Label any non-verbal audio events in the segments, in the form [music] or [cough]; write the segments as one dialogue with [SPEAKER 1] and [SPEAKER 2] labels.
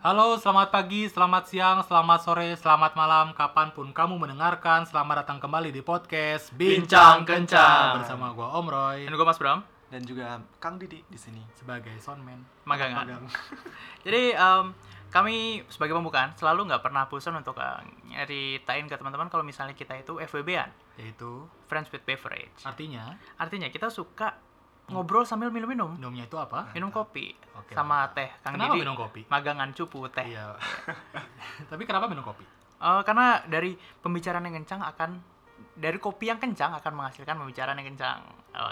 [SPEAKER 1] Halo, selamat pagi, selamat siang, selamat sore, selamat malam, kapanpun kamu mendengarkan. Selamat datang kembali di podcast
[SPEAKER 2] Bincang Kencang.
[SPEAKER 1] bersama gua Om Roy
[SPEAKER 2] Dan gue Mas Bram,
[SPEAKER 3] dan juga Kang Didi di sini.
[SPEAKER 1] sebagai soundman.
[SPEAKER 2] magangan.
[SPEAKER 3] Magang.
[SPEAKER 2] kan? [laughs] Jadi em, kami sebagai pembukaan selalu nggak pernah bosan untuk eh, nyeritain ke teman-teman kalau misalnya kita itu FWB-an,
[SPEAKER 1] Yaitu
[SPEAKER 2] Friends with Beverage.
[SPEAKER 1] artinya
[SPEAKER 2] Artinya kita suka ngobrol sambil minum-minum,
[SPEAKER 1] minumnya itu apa?
[SPEAKER 2] minum kopi
[SPEAKER 1] Oke,
[SPEAKER 2] sama teh. Kang
[SPEAKER 1] Kenapa
[SPEAKER 2] Didi,
[SPEAKER 1] minum kopi?
[SPEAKER 2] magangan cupu teh.
[SPEAKER 1] Iya. [laughs] Tapi kenapa minum kopi?
[SPEAKER 2] Eh, karena dari pembicaraan yang kencang akan dari kopi yang kencang akan menghasilkan pembicaraan yang kencang.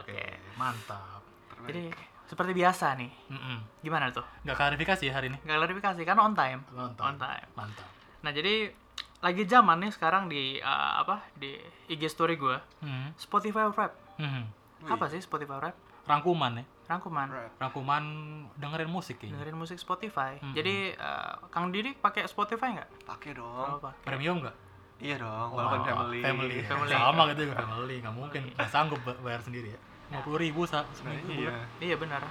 [SPEAKER 2] Oke.
[SPEAKER 1] mantap.
[SPEAKER 2] Jadi seperti biasa nih.
[SPEAKER 1] Mm-mm.
[SPEAKER 2] Gimana tuh?
[SPEAKER 1] Nggak klarifikasi ya hari ini.
[SPEAKER 2] Nggak klarifikasi karena on time.
[SPEAKER 1] On time.
[SPEAKER 2] On time.
[SPEAKER 1] Mantap.
[SPEAKER 2] Nah jadi lagi zaman nih sekarang di eh, apa di IG story gue
[SPEAKER 1] Hmm.
[SPEAKER 2] Spotify Rap
[SPEAKER 1] Hmm.
[SPEAKER 3] Wih.
[SPEAKER 2] apa sih Spotify Rap
[SPEAKER 1] Rangkuman ya.
[SPEAKER 2] rangkuman
[SPEAKER 3] Rap.
[SPEAKER 1] Rangkuman dengerin musik kayaknya.
[SPEAKER 2] dengerin musik Spotify
[SPEAKER 1] Mm-mm.
[SPEAKER 2] jadi eh, Kang Didi pakai Spotify nggak
[SPEAKER 3] Pakai
[SPEAKER 2] Kalau
[SPEAKER 3] dong.
[SPEAKER 2] pakai
[SPEAKER 1] Premium nggak?
[SPEAKER 3] Iya dong,
[SPEAKER 1] Wah,
[SPEAKER 3] walaupun family. Iya.
[SPEAKER 1] family.
[SPEAKER 2] Oh.
[SPEAKER 3] [laughs]
[SPEAKER 2] Family.
[SPEAKER 1] Sama gitu juga family, nggak mungkin. Nggak sanggup ba- bayar sendiri ya. 50 ribu
[SPEAKER 3] Sebenarnya
[SPEAKER 1] seminggu ya.
[SPEAKER 3] iya.
[SPEAKER 1] bulan.
[SPEAKER 2] iya benar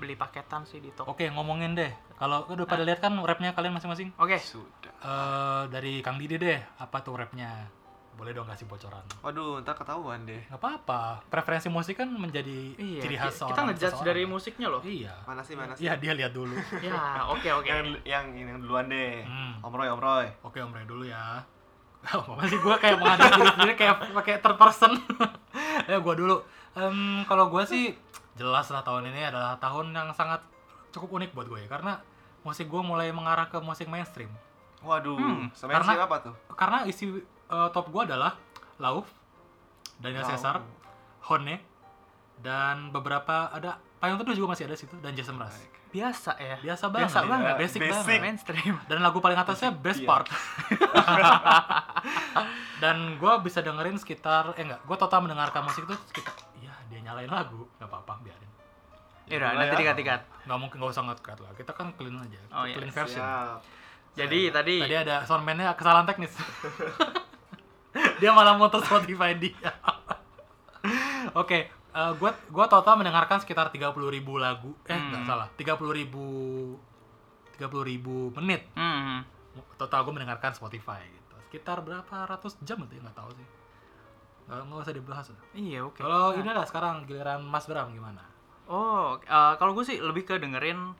[SPEAKER 2] beli paketan sih di toko oke
[SPEAKER 1] Oke, ngomongin deh. Kalau udah
[SPEAKER 2] Nah.
[SPEAKER 1] pada lihat kan rapnya kalian masing-masing.
[SPEAKER 3] Sudah.
[SPEAKER 1] Eh dari Kang Didi deh, apa tuh rapnya? Boleh dong kasih bocoran.
[SPEAKER 3] Waduh, ntar ketahuan deh.
[SPEAKER 1] Nggak apa-apa. Preferensi musik kan menjadi
[SPEAKER 2] iya
[SPEAKER 1] ciri khas
[SPEAKER 2] ki-
[SPEAKER 1] seorang
[SPEAKER 2] kita ngejudge
[SPEAKER 1] seseorang.
[SPEAKER 2] dari musiknya
[SPEAKER 1] [laughs]
[SPEAKER 2] loh
[SPEAKER 1] Iya.
[SPEAKER 3] Mana sih, mana sih?
[SPEAKER 1] Iya, dia lihat
[SPEAKER 2] [laughs]
[SPEAKER 1] dulu.
[SPEAKER 2] ya oke oke
[SPEAKER 3] Yang, yang ini yang duluan deh.
[SPEAKER 1] Hmm.
[SPEAKER 3] Om Roy, Om Roy.
[SPEAKER 1] Oke, Om Ray dulu ya. [laughs] Oh, apa sih gue kayak menghadap diri sendiri kayak pakai third person. [laughs] ya gue dulu. Em, kalau gue sih jelas lah tahun ini adalah tahun yang sangat cukup unik buat gue ya karena musik gue mulai mengarah ke musik mainstream.
[SPEAKER 3] Waduh,
[SPEAKER 2] Hmm,
[SPEAKER 3] sebenarnya
[SPEAKER 1] karena-
[SPEAKER 3] siapa tuh?
[SPEAKER 1] Karena isi eh, top gue adalah Lauf, Daniel
[SPEAKER 3] Lauf.
[SPEAKER 1] Caesar, Hone, dan beberapa ada Payung Teduh juga masih ada situ dan Jason Mraz.
[SPEAKER 3] Baik.
[SPEAKER 2] biasa ya
[SPEAKER 1] Biasa banget,
[SPEAKER 2] Biasa banget,
[SPEAKER 1] basic,
[SPEAKER 3] basic.
[SPEAKER 1] banget.
[SPEAKER 2] mainstream
[SPEAKER 1] dan lagu paling atasnya best
[SPEAKER 3] Iya.
[SPEAKER 1] part [laughs] dan gue bisa dengerin sekitar eh enggak gue total mendengarkan musik itu sekitar ya dia nyalain lagu nggak apa-apa biarin
[SPEAKER 2] ya udah
[SPEAKER 3] Mulai
[SPEAKER 2] nanti
[SPEAKER 3] ya.
[SPEAKER 2] dikat-ikat
[SPEAKER 1] nggak mungkin nggak usah ngekat lah kita kan clean aja
[SPEAKER 2] Oh, iya.
[SPEAKER 1] clean version
[SPEAKER 3] Siap.
[SPEAKER 2] jadi tadi
[SPEAKER 1] tadi ada soundman-nya kesalahan teknis [laughs] dia malah motor Spotify dia [laughs] oke gue gua total mendengarkan sekitar 30.000 ribu lagu eh nggak
[SPEAKER 2] Hmm.
[SPEAKER 1] salah 30.000 ribu ribu menit
[SPEAKER 2] hmm,
[SPEAKER 1] total gue mendengarkan Spotify gitu sekitar berapa ratus jam itu ya nggak tahu sih nggak nggak usah dibahas lah.
[SPEAKER 2] iya oke
[SPEAKER 1] kalau
[SPEAKER 2] Nah.
[SPEAKER 1] ini lah sekarang giliran Mas Bram gimana
[SPEAKER 2] Oh, eh, kalau gue sih lebih ke dengerin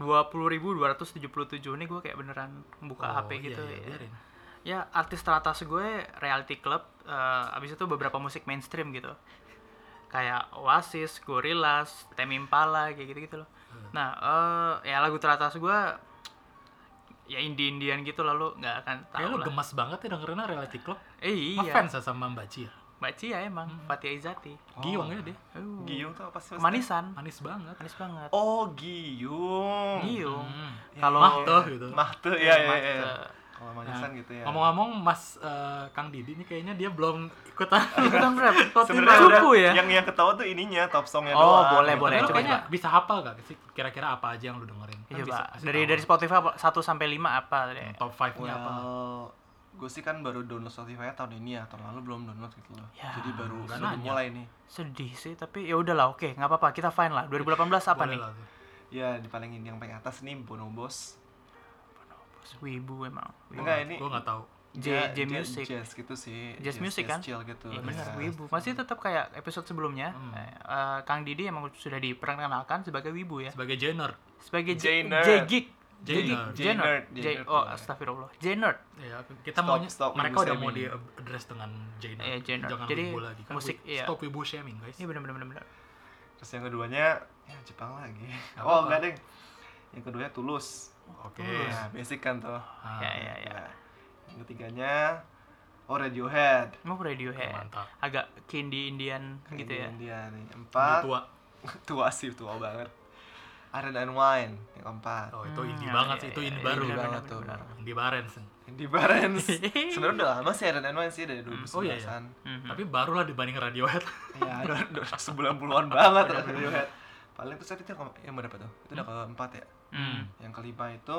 [SPEAKER 2] 20.277 ini gue kayak beneran buka
[SPEAKER 1] Oh,
[SPEAKER 2] HP gitu
[SPEAKER 1] iya, iya,
[SPEAKER 2] ya.
[SPEAKER 1] biarin.
[SPEAKER 2] Ya, artis teratas gue Reality Club, eh, abis itu beberapa musik mainstream gitu. Kayak Oasis, Gorillaz, Tame Impala, kayak gitu-gitu loh.
[SPEAKER 1] Hmm.
[SPEAKER 2] Nah, eh, ya lagu teratas gue ya indie-indian gitu lalu nggak akan
[SPEAKER 1] Kayak
[SPEAKER 2] tahu
[SPEAKER 1] lu
[SPEAKER 2] lah.
[SPEAKER 1] gemas banget ya dengerin Reality Club
[SPEAKER 2] Eh, iya,
[SPEAKER 1] ngefans ya sama Mbak Cia
[SPEAKER 2] Mbak Cia emang,
[SPEAKER 1] Hmm.
[SPEAKER 2] Fathia Izati.
[SPEAKER 1] Giong ya dia
[SPEAKER 2] Oh.
[SPEAKER 3] Giyung tuh apa sih? maksudnya?
[SPEAKER 2] Manisan,
[SPEAKER 1] manis banget
[SPEAKER 2] manis banget.
[SPEAKER 3] Oh, Giyung.
[SPEAKER 2] Giyung. Iya,
[SPEAKER 1] Hmm.
[SPEAKER 2] Kalau
[SPEAKER 1] Mah tuh gitu
[SPEAKER 3] Mahte, ya, ya,
[SPEAKER 1] iya.
[SPEAKER 3] ya.
[SPEAKER 2] Mahte.
[SPEAKER 3] Kalau
[SPEAKER 1] Nah,
[SPEAKER 3] manisan gitu ya.
[SPEAKER 1] ngomong-ngomong Mas eh, Kang Didi ini kayaknya dia belum ikutan
[SPEAKER 2] ikutan
[SPEAKER 1] [laughs]
[SPEAKER 2] rap
[SPEAKER 3] Sebenarnya udah,
[SPEAKER 2] cupu ya
[SPEAKER 1] iya,
[SPEAKER 3] yang yang ketawa tuh ininya top songnya
[SPEAKER 2] Oh,
[SPEAKER 3] doang.
[SPEAKER 2] boleh, [laughs]
[SPEAKER 3] Gitu.
[SPEAKER 2] boleh.
[SPEAKER 1] Tapi lu
[SPEAKER 2] coba,
[SPEAKER 1] kayaknya bisa hafal gak sih kira-kira apa aja yang lu dengerin Kan
[SPEAKER 2] Iya,
[SPEAKER 1] bisa
[SPEAKER 2] Pak.
[SPEAKER 1] kasih
[SPEAKER 2] dari
[SPEAKER 1] tahu.
[SPEAKER 2] dari Spotify apa? 1 sampai 5 apa tadi?
[SPEAKER 1] Hmm, top 5 nya apa
[SPEAKER 3] Well, gue sih kan baru download Spotify tahun ini ya, tahun lalu belum download gitu loh.
[SPEAKER 2] Ya,
[SPEAKER 3] Jadi baru
[SPEAKER 1] nggak
[SPEAKER 3] baru
[SPEAKER 1] nanya.
[SPEAKER 3] mulai nih.
[SPEAKER 2] Sedih sih, tapi ya udahlah oke, nggak apa-apa, kita fine lah. 2018 apa
[SPEAKER 1] Boleh
[SPEAKER 2] nih?
[SPEAKER 1] lah tuh.
[SPEAKER 3] Ya di paling ini yang paling atas nih Bonobos.
[SPEAKER 2] Wibu emang.
[SPEAKER 3] Enggak ini
[SPEAKER 1] Gua nggak tahu
[SPEAKER 2] J J
[SPEAKER 3] dia
[SPEAKER 2] Music.
[SPEAKER 3] jazz gitu sih.
[SPEAKER 2] Jazz music kan?
[SPEAKER 3] Chill gitu.
[SPEAKER 2] Iya
[SPEAKER 3] Ya.
[SPEAKER 2] benar, Wibu. Masih tetap kayak episode sebelumnya,
[SPEAKER 1] Hmm.
[SPEAKER 2] eh, eh, Kang Didi emang sudah diperkenalkan sebagai Wibu ya.
[SPEAKER 1] sebagai genre
[SPEAKER 2] Sebagai J
[SPEAKER 3] J-nerd.
[SPEAKER 2] J Geek. J
[SPEAKER 1] J-nerd.
[SPEAKER 2] Geek, J
[SPEAKER 3] J-nerd,
[SPEAKER 2] Nerd. J
[SPEAKER 3] J-nerd.
[SPEAKER 2] Oh, astagfirullah. J Nerd.
[SPEAKER 1] Ya, kita
[SPEAKER 3] Stop,
[SPEAKER 1] maunya
[SPEAKER 3] stop
[SPEAKER 1] mereka
[SPEAKER 3] wibu
[SPEAKER 1] udah mau di
[SPEAKER 3] shaming.
[SPEAKER 1] address dengan Jaina.
[SPEAKER 2] Iya, Jaina.
[SPEAKER 1] Jangan
[SPEAKER 2] Jadi,
[SPEAKER 1] wibu lagi. Kan
[SPEAKER 2] musik,
[SPEAKER 1] wi-
[SPEAKER 2] iya.
[SPEAKER 1] Stop wibu shaming, guys.
[SPEAKER 2] Iya benar benar benar, benar.
[SPEAKER 3] Terus yang keduanya ya Jepang lagi.
[SPEAKER 1] Nggak apa-apa.
[SPEAKER 3] oh enggak deh. Yang keduanya Tulus.
[SPEAKER 1] Oke.
[SPEAKER 2] Tulus.
[SPEAKER 3] Ya basic kan tuh.
[SPEAKER 1] Ah,
[SPEAKER 2] Ya ya ya.
[SPEAKER 3] Ya. Yang ketiganya oh Radiohead.
[SPEAKER 2] Emang Radiohead.
[SPEAKER 1] Mantap.
[SPEAKER 2] Agak kindy Indian gitu ya.
[SPEAKER 3] Dia nih.
[SPEAKER 1] Lebih
[SPEAKER 3] Empat.
[SPEAKER 1] tua.
[SPEAKER 3] [laughs] tua sih tua banget Iron and Wine yang keempat
[SPEAKER 1] Oh, itu
[SPEAKER 2] Hmm,
[SPEAKER 1] indie
[SPEAKER 2] iya,
[SPEAKER 1] banget sih.
[SPEAKER 2] iya,
[SPEAKER 1] Itu
[SPEAKER 2] iya, Hmm.
[SPEAKER 1] indie
[SPEAKER 2] iya,
[SPEAKER 1] baru.
[SPEAKER 2] benar,
[SPEAKER 3] Indie
[SPEAKER 2] benar,
[SPEAKER 3] banget tuh,
[SPEAKER 2] benar, benar.
[SPEAKER 1] Indie Barents.
[SPEAKER 3] di
[SPEAKER 1] [laughs]
[SPEAKER 3] Barents sebenarnya udah lama sih Iron and Wine sih dari 2019an
[SPEAKER 1] Oh, iya, iya. [laughs]
[SPEAKER 2] Mhm.
[SPEAKER 1] Tapi barulah dibanding Radiohead.
[SPEAKER 3] ya udah, [laughs] udah sebulan puluhan banget Radiohead paling besar itu yang, yang berapa tuh itu udah keempat ya
[SPEAKER 1] Mhm.
[SPEAKER 2] Hmm.
[SPEAKER 3] yang kelima itu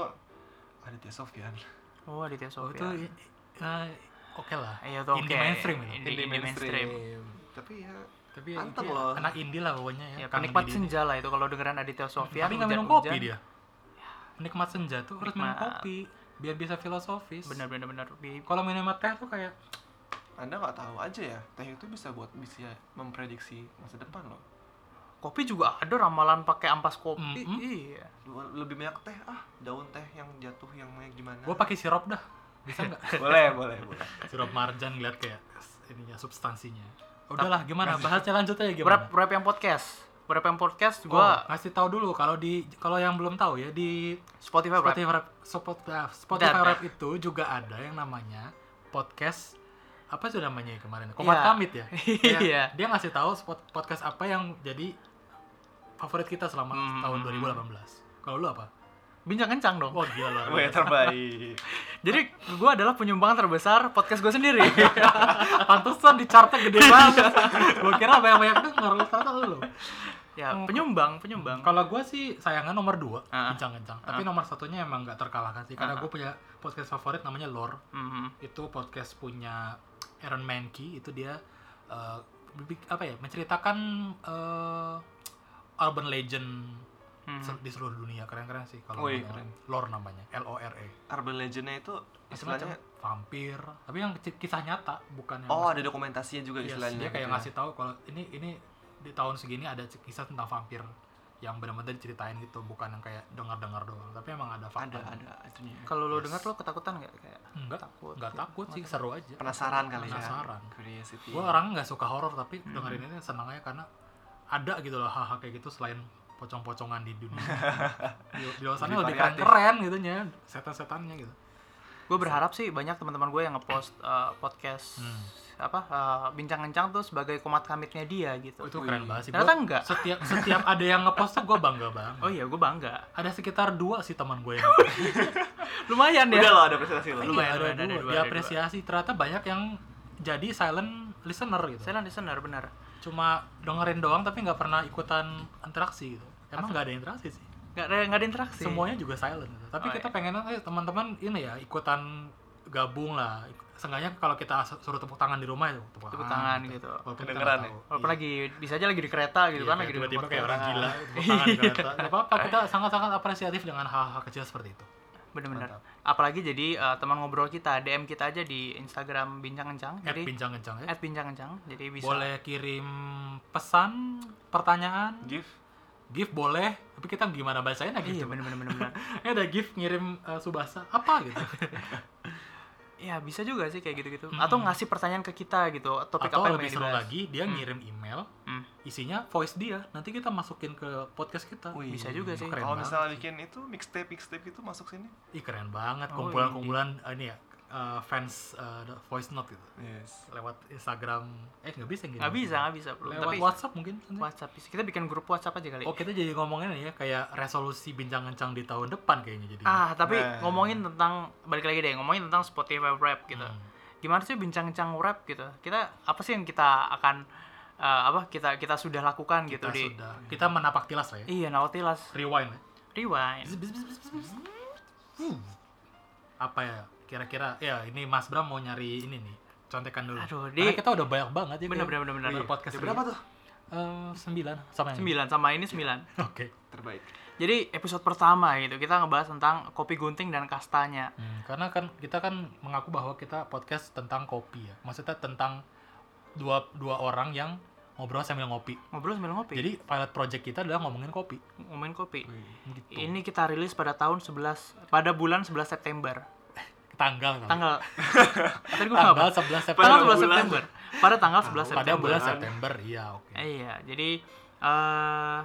[SPEAKER 3] Aditya Sofyan
[SPEAKER 2] Oh, Aditya
[SPEAKER 1] Oh,
[SPEAKER 2] Sofia.
[SPEAKER 1] itu i- eh, oke lah.
[SPEAKER 2] Iya tuh
[SPEAKER 1] Indie
[SPEAKER 2] iya, oke.
[SPEAKER 1] mainstream itu.
[SPEAKER 2] Indie, indie mainstream.
[SPEAKER 3] tapi ya
[SPEAKER 1] Tapi ya,
[SPEAKER 3] Mantap
[SPEAKER 1] dia
[SPEAKER 3] loh.
[SPEAKER 1] anak indie lah pokoknya ya.
[SPEAKER 2] Ya,
[SPEAKER 1] Kang
[SPEAKER 2] penikmat
[SPEAKER 1] Didi.
[SPEAKER 2] senja lah itu kalau dengeran Aditya Sofia
[SPEAKER 1] Tapi nggak minum kopi dia. nikmat senja tuh harus minum
[SPEAKER 2] Nikmat.
[SPEAKER 1] kopi biar bisa filosofis.
[SPEAKER 2] benar benar benar Bi-
[SPEAKER 1] Kalau minum teh tuh kayak
[SPEAKER 3] Anda nggak tahu aja ya, teh itu bisa buat bisa memprediksi masa depan loh.
[SPEAKER 2] kopi juga ada ramalan pakai ampas kopi
[SPEAKER 1] Mm-mm.
[SPEAKER 2] iya
[SPEAKER 3] Lu- Lebih banyak teh ah, daun teh yang jatuh yang banyak gimana?
[SPEAKER 1] gue pakai sirup dah. Bisa nggak?
[SPEAKER 3] [laughs] boleh, boleh,
[SPEAKER 1] [laughs]
[SPEAKER 3] boleh.
[SPEAKER 1] sirup marjan ngeliat kayak ininya substansinya. Ah, Udahlah, gimana? Bahasnya lanjut aja gimana?
[SPEAKER 2] Wrap wrap yang podcast wrap yang podcast
[SPEAKER 1] Gue
[SPEAKER 2] gua
[SPEAKER 1] ngasih tahu dulu kalau di kalau yang belum tahu ya di
[SPEAKER 2] Spotify wrap
[SPEAKER 1] Spotify Rap, Spot- ah, Spotify
[SPEAKER 2] That.
[SPEAKER 1] Rap itu juga ada yang namanya podcast apa sudah namanya ya kemarin Komad
[SPEAKER 2] Iya.
[SPEAKER 1] Kamit ya. [laughs] Iya.
[SPEAKER 2] Iya.
[SPEAKER 1] Dia ngasih tahu spot- podcast apa yang jadi favorit kita selama
[SPEAKER 2] Hmm.
[SPEAKER 1] tahun 2018. Kalau lu apa?
[SPEAKER 2] bincang kencang dong
[SPEAKER 1] Wah gila luar
[SPEAKER 3] Wah,
[SPEAKER 1] biasa.
[SPEAKER 3] terbaik.
[SPEAKER 2] jadi gua adalah penyumbang terbesar podcast gua sendiri [laughs]
[SPEAKER 1] Pantesan di chartnya gede banget. gua kira [laughs] banyak-banyak denger, ternyata lu.
[SPEAKER 2] ya penyumbang penyumbang
[SPEAKER 1] Hmm. Kalau gua sih sayangan nomor 2,
[SPEAKER 2] Ah.
[SPEAKER 1] kencang-kencang. Tapi
[SPEAKER 2] Ah.
[SPEAKER 1] nomor satunya emang nggak terkalahkan sih karena
[SPEAKER 2] Ah.
[SPEAKER 1] gua punya podcast favorit namanya Lore.
[SPEAKER 2] Mhm.
[SPEAKER 1] itu podcast punya Aaron Mankey itu dia eh, bibik- apa ya menceritakan eh, urban legend
[SPEAKER 2] Mhm.
[SPEAKER 1] se- di seluruh dunia keren-keren sih
[SPEAKER 2] Oh,
[SPEAKER 1] kalau
[SPEAKER 2] iya,
[SPEAKER 1] ngomong.
[SPEAKER 3] Wih, keren.
[SPEAKER 1] lore namanya L O R E
[SPEAKER 3] Urban legendnya itu
[SPEAKER 1] istilahnya
[SPEAKER 3] istilahnya
[SPEAKER 1] vampir tapi yang keci- kisah nyata bukan yang
[SPEAKER 3] Oh, ada dokumentasinya juga
[SPEAKER 1] Yes, Hmm.
[SPEAKER 3] istilahnya.
[SPEAKER 1] Iya dia kayak
[SPEAKER 3] gitu ya.
[SPEAKER 1] ngasih tahu kalau ini ini di tahun segini ada c- kisah tentang vampir yang benar-benar diceritain gitu bukan yang kayak dengar-dengar doang tapi emang ada fakta
[SPEAKER 3] ada ada itunya.
[SPEAKER 2] kalau lo
[SPEAKER 1] Yes.
[SPEAKER 2] dengar lo ketakutan nggak kayak
[SPEAKER 1] enggak
[SPEAKER 2] Takut.
[SPEAKER 1] enggak takut sih seru aja
[SPEAKER 3] Penasaran kali ya.
[SPEAKER 1] Penasaran.
[SPEAKER 3] Curiosity.
[SPEAKER 1] gue orang nggak suka horor tapi
[SPEAKER 3] Hmm.
[SPEAKER 1] dengerin ini senang aja karena ada gitu loh hal-hal kayak gitu selain pocong-pocongan di
[SPEAKER 3] [laughs]
[SPEAKER 1] dunia di, di luar sana lebih
[SPEAKER 3] Lebih variatif.
[SPEAKER 1] keren-keren gitu nya setan-setannya gitu
[SPEAKER 2] gue berharap sih banyak teman-teman gue yang ngepost eh, podcast
[SPEAKER 1] Hmm.
[SPEAKER 2] apa eh, bincang kencang tuh sebagai komat kamitnya dia gitu
[SPEAKER 1] itu keren banget sih
[SPEAKER 2] Ternyata
[SPEAKER 1] Gua
[SPEAKER 2] enggak.
[SPEAKER 1] setiap setiap ada yang ngepost tuh gue bangga banget
[SPEAKER 2] oh iya gue bangga
[SPEAKER 1] ada sekitar dua sih teman
[SPEAKER 3] [laughs]
[SPEAKER 1] gue yang
[SPEAKER 2] lumayan ya
[SPEAKER 3] Udah lah ada presentasi lah.
[SPEAKER 2] Lu- Lumayan,
[SPEAKER 1] Iya, ada,
[SPEAKER 2] lumayan, ada
[SPEAKER 1] dua
[SPEAKER 2] dua, ada
[SPEAKER 1] diapresiasi ternyata banyak yang jadi silent listener gitu
[SPEAKER 2] saya nanti benar benar
[SPEAKER 1] cuma dengerin doang tapi nggak pernah ikutan interaksi gitu emang nggak ada interaksi sih
[SPEAKER 2] nggak ada nggak ada interaksi
[SPEAKER 1] semuanya juga silent gitu. tapi
[SPEAKER 2] Oh,
[SPEAKER 1] kita
[SPEAKER 2] iya.
[SPEAKER 1] pengen eh, teman-teman ini ya ikutan gabung lah Seenggaknya kalau kita as- suruh tepuk tangan di rumah itu
[SPEAKER 2] Tepuk tangan gitu.
[SPEAKER 1] walaupun kita
[SPEAKER 3] Kedengeran
[SPEAKER 1] nggak
[SPEAKER 3] ya?
[SPEAKER 1] tahu.
[SPEAKER 2] walaupun
[SPEAKER 1] Iya.
[SPEAKER 2] lagi bisa aja lagi di kereta gitu
[SPEAKER 1] Iya,
[SPEAKER 2] kan
[SPEAKER 1] kayak
[SPEAKER 2] lagi di
[SPEAKER 1] tiba-tiba
[SPEAKER 2] remote
[SPEAKER 1] kayak orang
[SPEAKER 2] control.
[SPEAKER 1] gila
[SPEAKER 2] [laughs]
[SPEAKER 1] tepuk tangan di kereta. Nggak apa-apa kita sangat-sangat apresiatif dengan hal-hal kecil seperti itu
[SPEAKER 2] bener-bener
[SPEAKER 3] Mantap.
[SPEAKER 2] apalagi jadi eh, teman ngobrol kita DM kita aja di Instagram bincang kencang
[SPEAKER 1] at
[SPEAKER 2] jadi
[SPEAKER 1] bincang kencang ya
[SPEAKER 2] at bincang kencang jadi bisa
[SPEAKER 1] boleh kirim pesan pertanyaan
[SPEAKER 3] Give.
[SPEAKER 1] gift boleh tapi kita gimana bacain ya
[SPEAKER 2] iya
[SPEAKER 1] gitu
[SPEAKER 2] bener-bener bener-bener
[SPEAKER 1] ini ada gift ngirim eh, subasa apa gitu
[SPEAKER 2] ya bisa juga sih kayak gitu-gitu
[SPEAKER 1] Hmm.
[SPEAKER 2] atau ngasih pertanyaan ke kita gitu [laughs] topik
[SPEAKER 1] atau
[SPEAKER 2] apa yang
[SPEAKER 1] lebih
[SPEAKER 2] pengen
[SPEAKER 1] seru
[SPEAKER 2] dibahas.
[SPEAKER 1] lagi dia
[SPEAKER 2] Hmm.
[SPEAKER 1] ngirim email
[SPEAKER 2] Hmm.
[SPEAKER 1] isinya voice dia nanti kita masukin ke podcast kita
[SPEAKER 3] Wih.
[SPEAKER 2] bisa juga sih
[SPEAKER 1] Keren
[SPEAKER 3] Kalau
[SPEAKER 1] banget
[SPEAKER 3] misalnya
[SPEAKER 1] sih.
[SPEAKER 3] bikin itu mixtape mixtape itu masuk sini.
[SPEAKER 1] Ih keren banget
[SPEAKER 2] Oh,
[SPEAKER 1] kumpulan-kumpulan eh, ini ya eh, fans eh, the voice note gitu
[SPEAKER 3] Yes.
[SPEAKER 1] lewat Instagram eh nggak bisa yang gitu
[SPEAKER 2] nggak bisa nggak bisa belum
[SPEAKER 1] lewat
[SPEAKER 2] tapi
[SPEAKER 1] WhatsApp mungkin nanti.
[SPEAKER 2] WhatsApp bisa. kita bikin grup WhatsApp aja kali
[SPEAKER 1] oh kita jadi ngomongin ya kayak resolusi bincang kencang di tahun depan kayaknya jadi
[SPEAKER 2] ah tapi
[SPEAKER 3] Nah.
[SPEAKER 2] ngomongin tentang balik lagi deh ngomongin tentang Spotify Rap gitu
[SPEAKER 1] Hmm.
[SPEAKER 2] gimana sih bincang-bincang rap gitu kita apa sih yang kita akan eh, apa kita kita sudah lakukan
[SPEAKER 1] kita
[SPEAKER 2] gitu di
[SPEAKER 1] sudah kita menapak tilas lah ya
[SPEAKER 2] iya Nautilas
[SPEAKER 1] rewind ya.
[SPEAKER 2] rewind
[SPEAKER 1] Bzz, bzz, bzz, bzz, bzz. Hmm. apa ya kira-kira ya ini Mas Bram mau nyari ini nih contekan dulu
[SPEAKER 2] Aduh, di-
[SPEAKER 1] Karena kita udah banyak banget ya
[SPEAKER 2] Bener,
[SPEAKER 1] kayak
[SPEAKER 2] bener, bener, bener.
[SPEAKER 1] podcast
[SPEAKER 3] Jam berapa tuh?
[SPEAKER 1] Eh, sembilan sama yang ini.
[SPEAKER 2] sembilan sama ini sembilan
[SPEAKER 1] oke
[SPEAKER 3] Terbaik.
[SPEAKER 2] jadi episode pertama gitu kita ngebahas tentang kopi gunting dan kastanya
[SPEAKER 1] Hmm, karena kan kita kan mengaku bahwa kita podcast tentang kopi ya. Maksudnya tentang dua dua orang yang ngobrol sambil ngopi.
[SPEAKER 2] ngobrol sambil ngopi
[SPEAKER 1] Jadi pilot project kita adalah ngomongin kopi.
[SPEAKER 2] ngomongin kopi
[SPEAKER 1] Gitu.
[SPEAKER 2] ini kita rilis pada tahun 11 pada bulan 11 September
[SPEAKER 1] tanggal kan? [laughs]
[SPEAKER 2] tanggal tadi gua
[SPEAKER 1] Tanggal 11
[SPEAKER 2] ngapa? tanggal
[SPEAKER 1] September.
[SPEAKER 3] bulan
[SPEAKER 2] 11 September pada tanggal 11
[SPEAKER 1] Pada
[SPEAKER 2] September
[SPEAKER 1] bulan September, iya oke.
[SPEAKER 2] Eh, Iya, jadi eh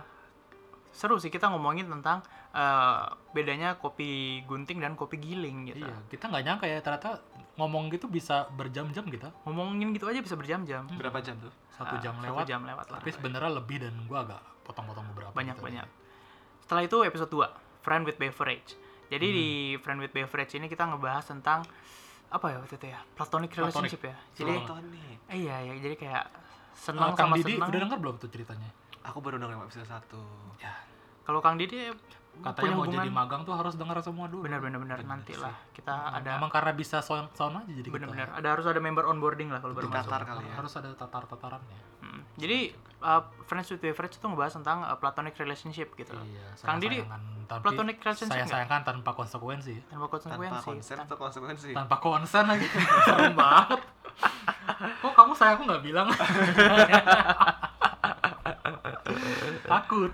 [SPEAKER 2] seru sih kita ngomongin tentang eh, bedanya kopi gunting dan kopi giling gitu.
[SPEAKER 1] Iya, kita nggak nyangka ya ternyata ngomong gitu bisa berjam-jam kita.
[SPEAKER 2] Ngomongin gitu aja bisa berjam-jam.
[SPEAKER 3] Berapa jam tuh?
[SPEAKER 1] Satu
[SPEAKER 2] Ah,
[SPEAKER 1] jam
[SPEAKER 2] satu
[SPEAKER 1] lewat.
[SPEAKER 2] jam lewat lah.
[SPEAKER 1] Tapi sebenarnya lebih dan gua agak potong-potong beberapa.
[SPEAKER 2] Banyak
[SPEAKER 1] gitu.
[SPEAKER 2] banyak. Setelah itu episode 2, Friend with Beverage. Jadi di
[SPEAKER 1] Hmm.
[SPEAKER 2] Friend with Beverage ini kita ngebahas tentang apa ya waktu itu ya? Platonic relationship ya. Jadi
[SPEAKER 1] Betul.
[SPEAKER 3] Tony.
[SPEAKER 2] eh, iya ya, jadi kayak
[SPEAKER 1] Kalau
[SPEAKER 2] senang
[SPEAKER 1] Kang
[SPEAKER 2] sama
[SPEAKER 1] Didi
[SPEAKER 2] senang.
[SPEAKER 1] udah denger belum tuh ceritanya?
[SPEAKER 3] Aku baru denger episode satu.
[SPEAKER 2] Kalau Kang Didi
[SPEAKER 1] Katanya mau
[SPEAKER 2] hubungan-
[SPEAKER 1] jadi Iya, magang tuh harus denger semua dulu.
[SPEAKER 2] benar benar benar nantilah kita ada
[SPEAKER 1] Emang karena bisa sound, sound aja jadi gitu. kita. ya.
[SPEAKER 2] benar-benar ada harus ada member onboarding lah kalau baru
[SPEAKER 3] Tatar kali ya.
[SPEAKER 1] harus ada tatar tatarannya
[SPEAKER 2] Hmm, Jadi uh, Friends with Beverage itu ngebahas tentang uh, platonic relationship gitu.
[SPEAKER 1] Iya,
[SPEAKER 2] Kang Didi,
[SPEAKER 1] sayang-sayangan tanpa
[SPEAKER 2] platonic relationship
[SPEAKER 1] saya
[SPEAKER 2] nggak?
[SPEAKER 1] sayangkan tanpa konsekuensi
[SPEAKER 2] Tanpa
[SPEAKER 3] tanpa
[SPEAKER 2] konsekuensi.
[SPEAKER 3] konsen
[SPEAKER 2] Tan-
[SPEAKER 3] atau konsekuensi
[SPEAKER 1] tanpa konsen
[SPEAKER 2] [laughs]
[SPEAKER 1] lagi serem banget kok kamu sayang aku nggak
[SPEAKER 2] [laughs]
[SPEAKER 1] bilang takut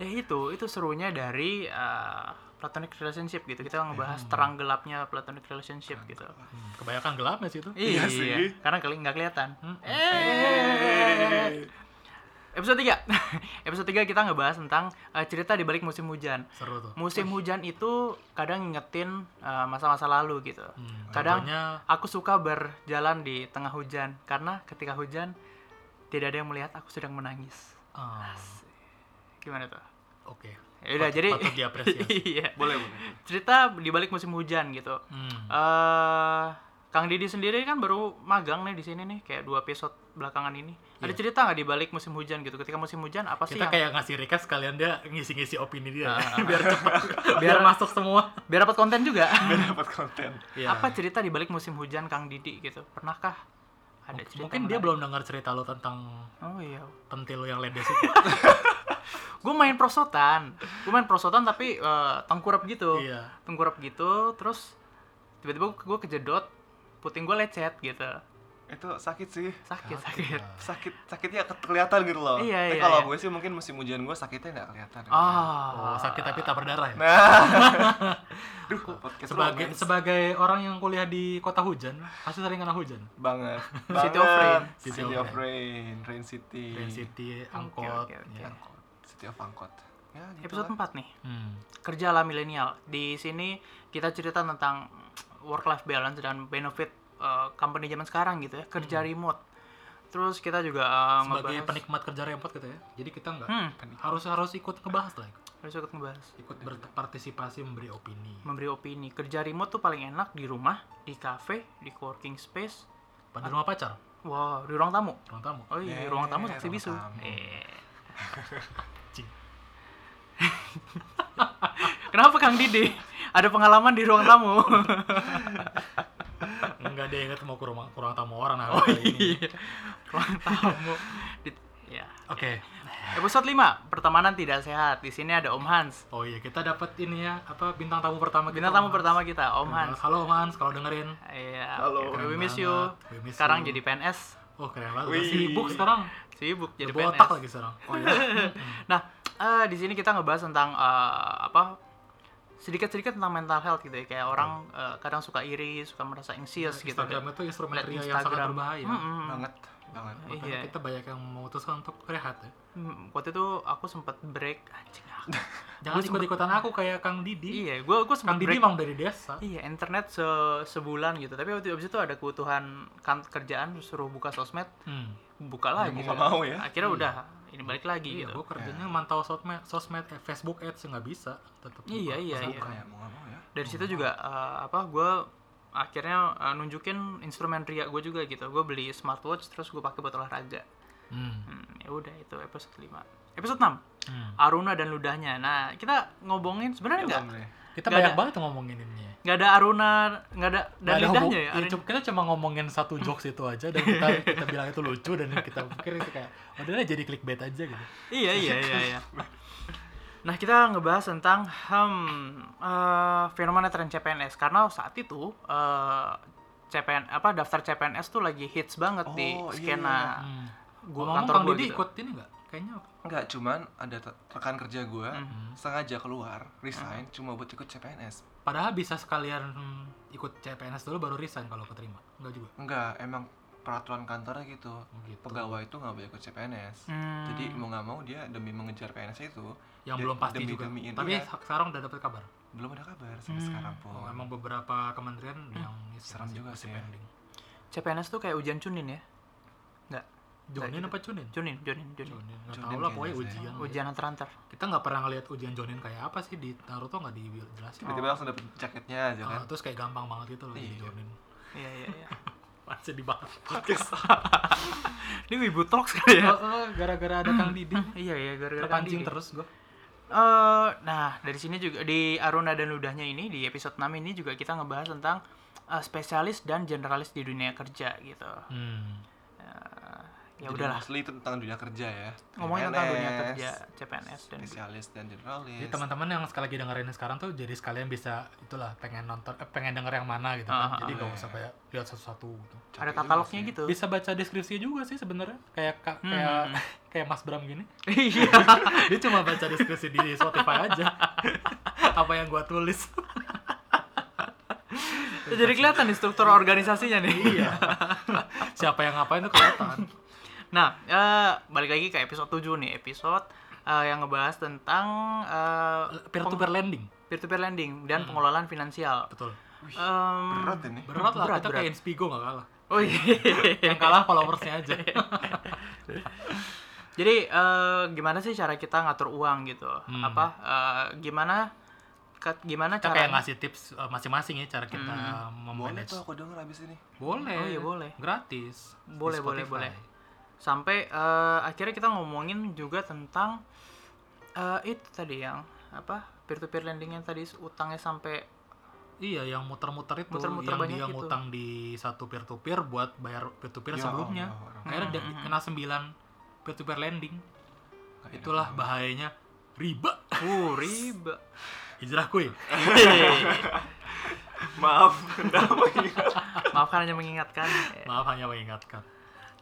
[SPEAKER 2] ya itu, itu serunya dari uh, platonic relationship gitu. Kita ngebahas terang gelapnya platonic relationship gitu.
[SPEAKER 1] Hmm, kebanyakan gelapnya sih itu
[SPEAKER 2] Iya,
[SPEAKER 3] sih.
[SPEAKER 2] Karena kali nggak kelihatan.
[SPEAKER 1] Hmm.
[SPEAKER 2] Eh. Episode 3. [laughs] Episode 3 kita ngebahas tentang uh, cerita di balik musim hujan.
[SPEAKER 1] seru tuh
[SPEAKER 2] Musim hujan itu kadang ngingetin uh, masa-masa lalu gitu.
[SPEAKER 1] Hmm,
[SPEAKER 2] Kadang
[SPEAKER 1] contohnya
[SPEAKER 2] aku suka berjalan di tengah hujan karena ketika hujan tidak ada yang melihat aku sedang menangis.
[SPEAKER 1] ah,
[SPEAKER 2] Gimana tuh?
[SPEAKER 1] oke
[SPEAKER 2] Ya udah
[SPEAKER 1] Patut-
[SPEAKER 2] jadi
[SPEAKER 1] patut diapresiasi
[SPEAKER 2] [laughs] iya.
[SPEAKER 3] boleh boleh
[SPEAKER 2] Cerita di balik musim hujan gitu.
[SPEAKER 1] Hmm,
[SPEAKER 2] eh Kang Didi sendiri kan baru magang nih di sini nih kayak dua episode belakangan ini. Ada cerita nggak di balik musim hujan gitu? Ketika musim hujan apa sih
[SPEAKER 1] Iya. kita
[SPEAKER 2] yang-
[SPEAKER 1] kayak ngasih recap sekalian dia ngisi-ngisi opini dia
[SPEAKER 2] Ah, ah,
[SPEAKER 1] [laughs] biar cepet biar
[SPEAKER 2] [laughs] Biar-
[SPEAKER 1] masuk semua
[SPEAKER 2] biar dapat konten juga?
[SPEAKER 3] biar dapat konten
[SPEAKER 1] [laughs] Iya.
[SPEAKER 2] Apa cerita di balik musim hujan Kang Didi gitu? Pernahkah ada
[SPEAKER 1] Mungkin-
[SPEAKER 2] cerita?
[SPEAKER 1] mungkin dia belum dengar cerita lo tentang
[SPEAKER 2] Oh iya.
[SPEAKER 1] pentil lo yang ledes itu
[SPEAKER 2] Gue main prosotan. Gue main prosotan tapi eh, tengkurap gitu.
[SPEAKER 1] iya
[SPEAKER 2] Tengkurap gitu terus tiba-tiba gue kejedot puting gue lecet gitu.
[SPEAKER 3] itu sakit sih
[SPEAKER 2] Sakit sakit.
[SPEAKER 1] iya.
[SPEAKER 3] sakit sakitnya ke- kelihatan gitu loh
[SPEAKER 2] Iya,
[SPEAKER 3] tapi
[SPEAKER 2] iya,
[SPEAKER 3] kalau
[SPEAKER 2] iya.
[SPEAKER 3] gue sih mungkin musim hujan gue sakitnya nggak kelihatan
[SPEAKER 1] oh,
[SPEAKER 2] Ah.
[SPEAKER 1] sakit tapi tak berdarah ya
[SPEAKER 3] nah duh podcast
[SPEAKER 1] sebagai
[SPEAKER 3] romance.
[SPEAKER 1] sebagai orang yang kuliah di kota hujan pasti sering kena hujan
[SPEAKER 3] banget
[SPEAKER 2] [laughs] City of Rain.
[SPEAKER 3] Banget. City of Rain Rain City
[SPEAKER 1] Rain City angkot
[SPEAKER 2] Iya. oke, oke.
[SPEAKER 1] ya.
[SPEAKER 3] angkot City of angkot ya gitu
[SPEAKER 2] Episode
[SPEAKER 3] lah.
[SPEAKER 2] 4 nih.
[SPEAKER 1] Hmm.
[SPEAKER 2] kerja ala milenial. Di sini kita cerita tentang work life balance dan benefit uh, company zaman sekarang gitu ya, kerja remote. Terus kita juga uh,
[SPEAKER 1] sebagai
[SPEAKER 2] ngebahas-
[SPEAKER 1] penikmat kerja repot gitu ya jadi kita nggak
[SPEAKER 2] Hmm,
[SPEAKER 1] harus harus ikut ngebahas lah ya,
[SPEAKER 2] harus ikut ngebahas.
[SPEAKER 1] ikut berpartisipasi memberi opini
[SPEAKER 2] Memberi opini, kerja remote tuh paling enak di rumah, di cafe, di co-working space.
[SPEAKER 1] pada rumah pacar
[SPEAKER 2] Wow, di ruang tamu.
[SPEAKER 1] ruang tamu
[SPEAKER 2] Oh iya,
[SPEAKER 3] Eh,
[SPEAKER 2] ruang tamu saksi
[SPEAKER 3] ruang
[SPEAKER 2] bisu.
[SPEAKER 3] tamu.
[SPEAKER 2] Eh. [laughs]
[SPEAKER 1] Cing.
[SPEAKER 2] Kenapa Kang Didi? Ada pengalaman di ruang tamu.
[SPEAKER 1] iya. nggak dia inget mau ke rumah ke ruang tamu orang
[SPEAKER 2] Oh,
[SPEAKER 1] nah, kali ini.
[SPEAKER 2] iya. ruang tamu. Di, ya.
[SPEAKER 1] oke
[SPEAKER 2] Episode 5, pertemanan tidak sehat. Di sini ada Om Hans.
[SPEAKER 1] oh iya kita dapat ini ya apa bintang tamu pertama kita
[SPEAKER 2] Bintang tamu
[SPEAKER 1] Om
[SPEAKER 2] pertama kita,
[SPEAKER 1] Keren
[SPEAKER 2] Om Hans.
[SPEAKER 1] banget. halo Om Hans kalau dengerin
[SPEAKER 2] Iya.
[SPEAKER 3] Halo.
[SPEAKER 2] oke, We
[SPEAKER 1] Keren
[SPEAKER 2] miss
[SPEAKER 1] banget.
[SPEAKER 2] you.
[SPEAKER 1] We miss
[SPEAKER 2] Sekarang
[SPEAKER 1] you.
[SPEAKER 2] jadi PNS.
[SPEAKER 1] oh keren banget udah
[SPEAKER 3] Wih.
[SPEAKER 1] sibuk sekarang
[SPEAKER 2] Sibuk
[SPEAKER 1] jadi
[SPEAKER 2] jadi PNS.
[SPEAKER 1] botak lagi sekarang oh iya
[SPEAKER 2] Nah, eh, di sini kita ngebahas tentang eh, apa? Sedikit-sedikit tentang mental health gitu ya. Kayak orang eh, kadang suka iri, suka merasa anxious gitu.
[SPEAKER 1] Iya, Instagram itu instrumen
[SPEAKER 2] Lihat
[SPEAKER 1] ria yang sangat
[SPEAKER 2] Instagram.
[SPEAKER 1] berbahaya Nah.
[SPEAKER 2] Mm-mm.
[SPEAKER 3] banget banget
[SPEAKER 1] Makanya
[SPEAKER 2] Iya.
[SPEAKER 1] kita banyak yang memutuskan untuk rehat ya
[SPEAKER 2] Mm, Waktu itu aku sempat break anjing aku.
[SPEAKER 1] [laughs] jangan ikut-ikutan aku kayak Kang Didi
[SPEAKER 2] iya, gua gua sempat
[SPEAKER 1] Kang Didi
[SPEAKER 2] break.
[SPEAKER 1] emang dari desa
[SPEAKER 2] Iya, internet se sebulan gitu. Tapi waktu abis itu ada kebutuhan kan kerjaan suruh buka sosmed,
[SPEAKER 1] Hmm.
[SPEAKER 2] buka lagi.
[SPEAKER 3] mau nggak mau ya.
[SPEAKER 2] Akhirnya udah ini balik lagi
[SPEAKER 1] Iya,
[SPEAKER 2] gitu.
[SPEAKER 1] gue kerjanya mantau sosmed, sosmed eh, Facebook ads nggak bisa tetap.
[SPEAKER 2] Iya, iya, iya.
[SPEAKER 3] kayak mau nggak mau ya
[SPEAKER 2] dari situ juga eh, apa gue akhirnya eh, nunjukin instrumen ria gue juga gitu gue beli smartwatch terus gue pakai buat olahraga
[SPEAKER 1] Hmm.
[SPEAKER 2] hmm, ya udah itu episode 5 episode 6
[SPEAKER 1] Hmm.
[SPEAKER 2] Aruna dan ludahnya nah kita ngomongin sebenarnya nggak
[SPEAKER 3] Belum deh.
[SPEAKER 1] Kita
[SPEAKER 2] Nggak
[SPEAKER 1] banyak
[SPEAKER 2] ada.
[SPEAKER 1] banget ngomongin ini.
[SPEAKER 2] nggak ada Aruna nggak ada dan ludahnya ya, Arun-
[SPEAKER 1] kita cuma ngomongin
[SPEAKER 2] [laughs]
[SPEAKER 1] satu jokes itu aja dan kita kita bilang itu lucu dan kita pikir itu kayak udah deh jadi clickbait aja gitu.
[SPEAKER 2] iya iya iya iya nah kita ngebahas tentang hmm, eh, fenomena tren CPNS karena saat itu eh, CPN apa daftar CPNS tuh lagi hits banget di
[SPEAKER 3] Oh, iya, iya.
[SPEAKER 2] skena
[SPEAKER 1] Hmm.
[SPEAKER 2] Gua-
[SPEAKER 1] Ngomong-ngomong,
[SPEAKER 2] kantor
[SPEAKER 1] Kang
[SPEAKER 2] gua
[SPEAKER 1] Didi
[SPEAKER 2] gitu.
[SPEAKER 1] ikut ini nggak? Kayaknya
[SPEAKER 3] Enggak, cuman ada te- rekan kerja gue
[SPEAKER 2] Mhm.
[SPEAKER 3] sengaja keluar, resign,
[SPEAKER 2] Hmm.
[SPEAKER 3] cuma buat ikut CPNS.
[SPEAKER 1] padahal bisa sekalian hmm, ikut CPNS dulu baru resign kalau keterima. Enggak juga.
[SPEAKER 3] Enggak, emang peraturan kantornya gitu.
[SPEAKER 1] Gitu.
[SPEAKER 3] Pegawai itu nggak boleh ikut CPNS.
[SPEAKER 2] Hmm.
[SPEAKER 3] Jadi mau nggak mau dia demi mengejar PNS itu
[SPEAKER 1] Yang
[SPEAKER 3] dia
[SPEAKER 1] belum pasti juga.
[SPEAKER 3] demi-demiin.
[SPEAKER 1] Tapi
[SPEAKER 2] ya.
[SPEAKER 3] Iya,
[SPEAKER 1] sekarang udah dapet kabar.
[SPEAKER 3] belum ada kabar
[SPEAKER 2] Hmm.
[SPEAKER 3] sampai sekarang pun.
[SPEAKER 1] Oh, emang beberapa kementerian yang
[SPEAKER 3] Serem juga sih ya.
[SPEAKER 1] pending.
[SPEAKER 2] CPNS tuh kayak ujian cunin ya? Enggak.
[SPEAKER 1] Jonin apa Cunin?
[SPEAKER 2] Cunin, Cunin, Cunin.
[SPEAKER 1] Jonin, nggak
[SPEAKER 3] Jonin
[SPEAKER 1] tahu lah
[SPEAKER 3] kayaknya
[SPEAKER 1] pokoknya
[SPEAKER 3] saya.
[SPEAKER 1] ujian.
[SPEAKER 2] Ujian antar-antar.
[SPEAKER 1] Kita nggak pernah ngelihat ujian Jonin kayak apa sih di Naruto nggak dijelasin.
[SPEAKER 2] Oh,
[SPEAKER 3] Tiba-tiba langsung dapet jaketnya aja
[SPEAKER 1] Ah,
[SPEAKER 3] kan.
[SPEAKER 1] terus kayak gampang banget gitu loh jadi
[SPEAKER 3] Iya.
[SPEAKER 1] Jonin.
[SPEAKER 2] Iya, iya, iya.
[SPEAKER 1] Masih dibahas.
[SPEAKER 2] [laughs]
[SPEAKER 1] [laughs]
[SPEAKER 2] Ini Wibu Talks kali ya?
[SPEAKER 1] Oh, oh, gara-gara ada Kang Didi
[SPEAKER 2] iya, iya, gara-gara
[SPEAKER 1] terpancing
[SPEAKER 2] Kang Didi.
[SPEAKER 1] terus gua.
[SPEAKER 2] Eh, nah, dari sini juga di Aruna dan Ludahnya ini di episode 6 ini juga kita ngebahas tentang eh, spesialis dan generalis di dunia kerja gitu.
[SPEAKER 1] Hmm.
[SPEAKER 2] Eh, ya
[SPEAKER 3] Jadi
[SPEAKER 2] udahlah
[SPEAKER 3] mostly itu tentang dunia kerja ya
[SPEAKER 2] ngomongin tentang dunia
[SPEAKER 3] CPNS,
[SPEAKER 2] kerja CPNS dan
[SPEAKER 3] spesialis dan generalis
[SPEAKER 1] Jadi teman-teman yang sekali lagi dengerin sekarang tuh jadi sekalian bisa itulah pengen nonton eh, pengen denger yang mana gitu kan.
[SPEAKER 2] Ah,
[SPEAKER 1] jadi gak
[SPEAKER 3] iya.
[SPEAKER 1] usah kayak lihat satu-satu gitu.
[SPEAKER 3] Cocok
[SPEAKER 2] ada
[SPEAKER 3] juga
[SPEAKER 2] katalognya
[SPEAKER 3] sih.
[SPEAKER 2] gitu
[SPEAKER 1] Bisa baca deskripsinya juga sih sebenarnya kayak ka-
[SPEAKER 2] Hmm,
[SPEAKER 1] kayak
[SPEAKER 2] hmm,
[SPEAKER 1] [laughs] kayak Mas Bram gini.
[SPEAKER 2] [laughs]
[SPEAKER 1] [laughs]
[SPEAKER 2] iya
[SPEAKER 1] Dia cuma baca deskripsi di Spotify aja. [laughs] Apa yang gua tulis.
[SPEAKER 2] jadi kelihatan nih struktur organisasinya nih
[SPEAKER 1] iya. [laughs] Siapa yang ngapain tuh kelihatan.
[SPEAKER 2] [laughs] Nah, eh, balik lagi ke episode 7 nih, episode eh, yang ngebahas tentang eh,
[SPEAKER 1] Peer Hmm. to peer lending.
[SPEAKER 2] peng- peer-to-peer lending dan pengelolaan finansial.
[SPEAKER 1] Betul.
[SPEAKER 3] Wih,
[SPEAKER 2] Em,
[SPEAKER 3] berat ini
[SPEAKER 1] Berat lah
[SPEAKER 2] Berat,
[SPEAKER 1] kita
[SPEAKER 2] berat.
[SPEAKER 1] kayak Inspigo gak kalah.
[SPEAKER 2] oh iya. [laughs]
[SPEAKER 1] Yang kalah followersnya aja.
[SPEAKER 2] Jadi eh, gimana sih cara kita ngatur uang gitu?
[SPEAKER 1] Hmm.
[SPEAKER 2] Apa eh, gimana ke- gimana
[SPEAKER 1] Kita
[SPEAKER 2] cara
[SPEAKER 1] kayak ngasih tips eh, masing-masing ya cara kita
[SPEAKER 3] boleh
[SPEAKER 1] memanage.
[SPEAKER 3] tuh aku denger abis ini
[SPEAKER 1] Boleh.
[SPEAKER 2] Oh iya, Hmm. boleh.
[SPEAKER 1] Gratis. di
[SPEAKER 2] Boleh, boleh,
[SPEAKER 1] Spotify.
[SPEAKER 2] boleh. sampai eh, akhirnya kita ngomongin juga tentang eh, itu tadi yang apa? peer-to-peer lending yang tadi utangnya sampai
[SPEAKER 1] Iya, yang muter-muter itu
[SPEAKER 2] Muter-muter
[SPEAKER 1] yang
[SPEAKER 2] banyak
[SPEAKER 1] dia
[SPEAKER 2] gitu.
[SPEAKER 1] ngutang di satu peer to peer buat bayar peer to peer
[SPEAKER 3] Ya
[SPEAKER 1] sebelumnya.
[SPEAKER 3] Allah, orang-
[SPEAKER 1] Akhirnya dia
[SPEAKER 2] Hmm, hmm,
[SPEAKER 1] kena 9 peer to peer lending.
[SPEAKER 3] Nggak enak
[SPEAKER 1] Itulah
[SPEAKER 3] banget.
[SPEAKER 1] bahayanya riba. [laughs]
[SPEAKER 2] uh, riba.
[SPEAKER 1] Hijrah kuy.
[SPEAKER 2] [laughs]
[SPEAKER 3] maaf kenapa ya?
[SPEAKER 2] Maafkan Ah, hanya mengingatkan.
[SPEAKER 1] Maaf hanya mengingatkan.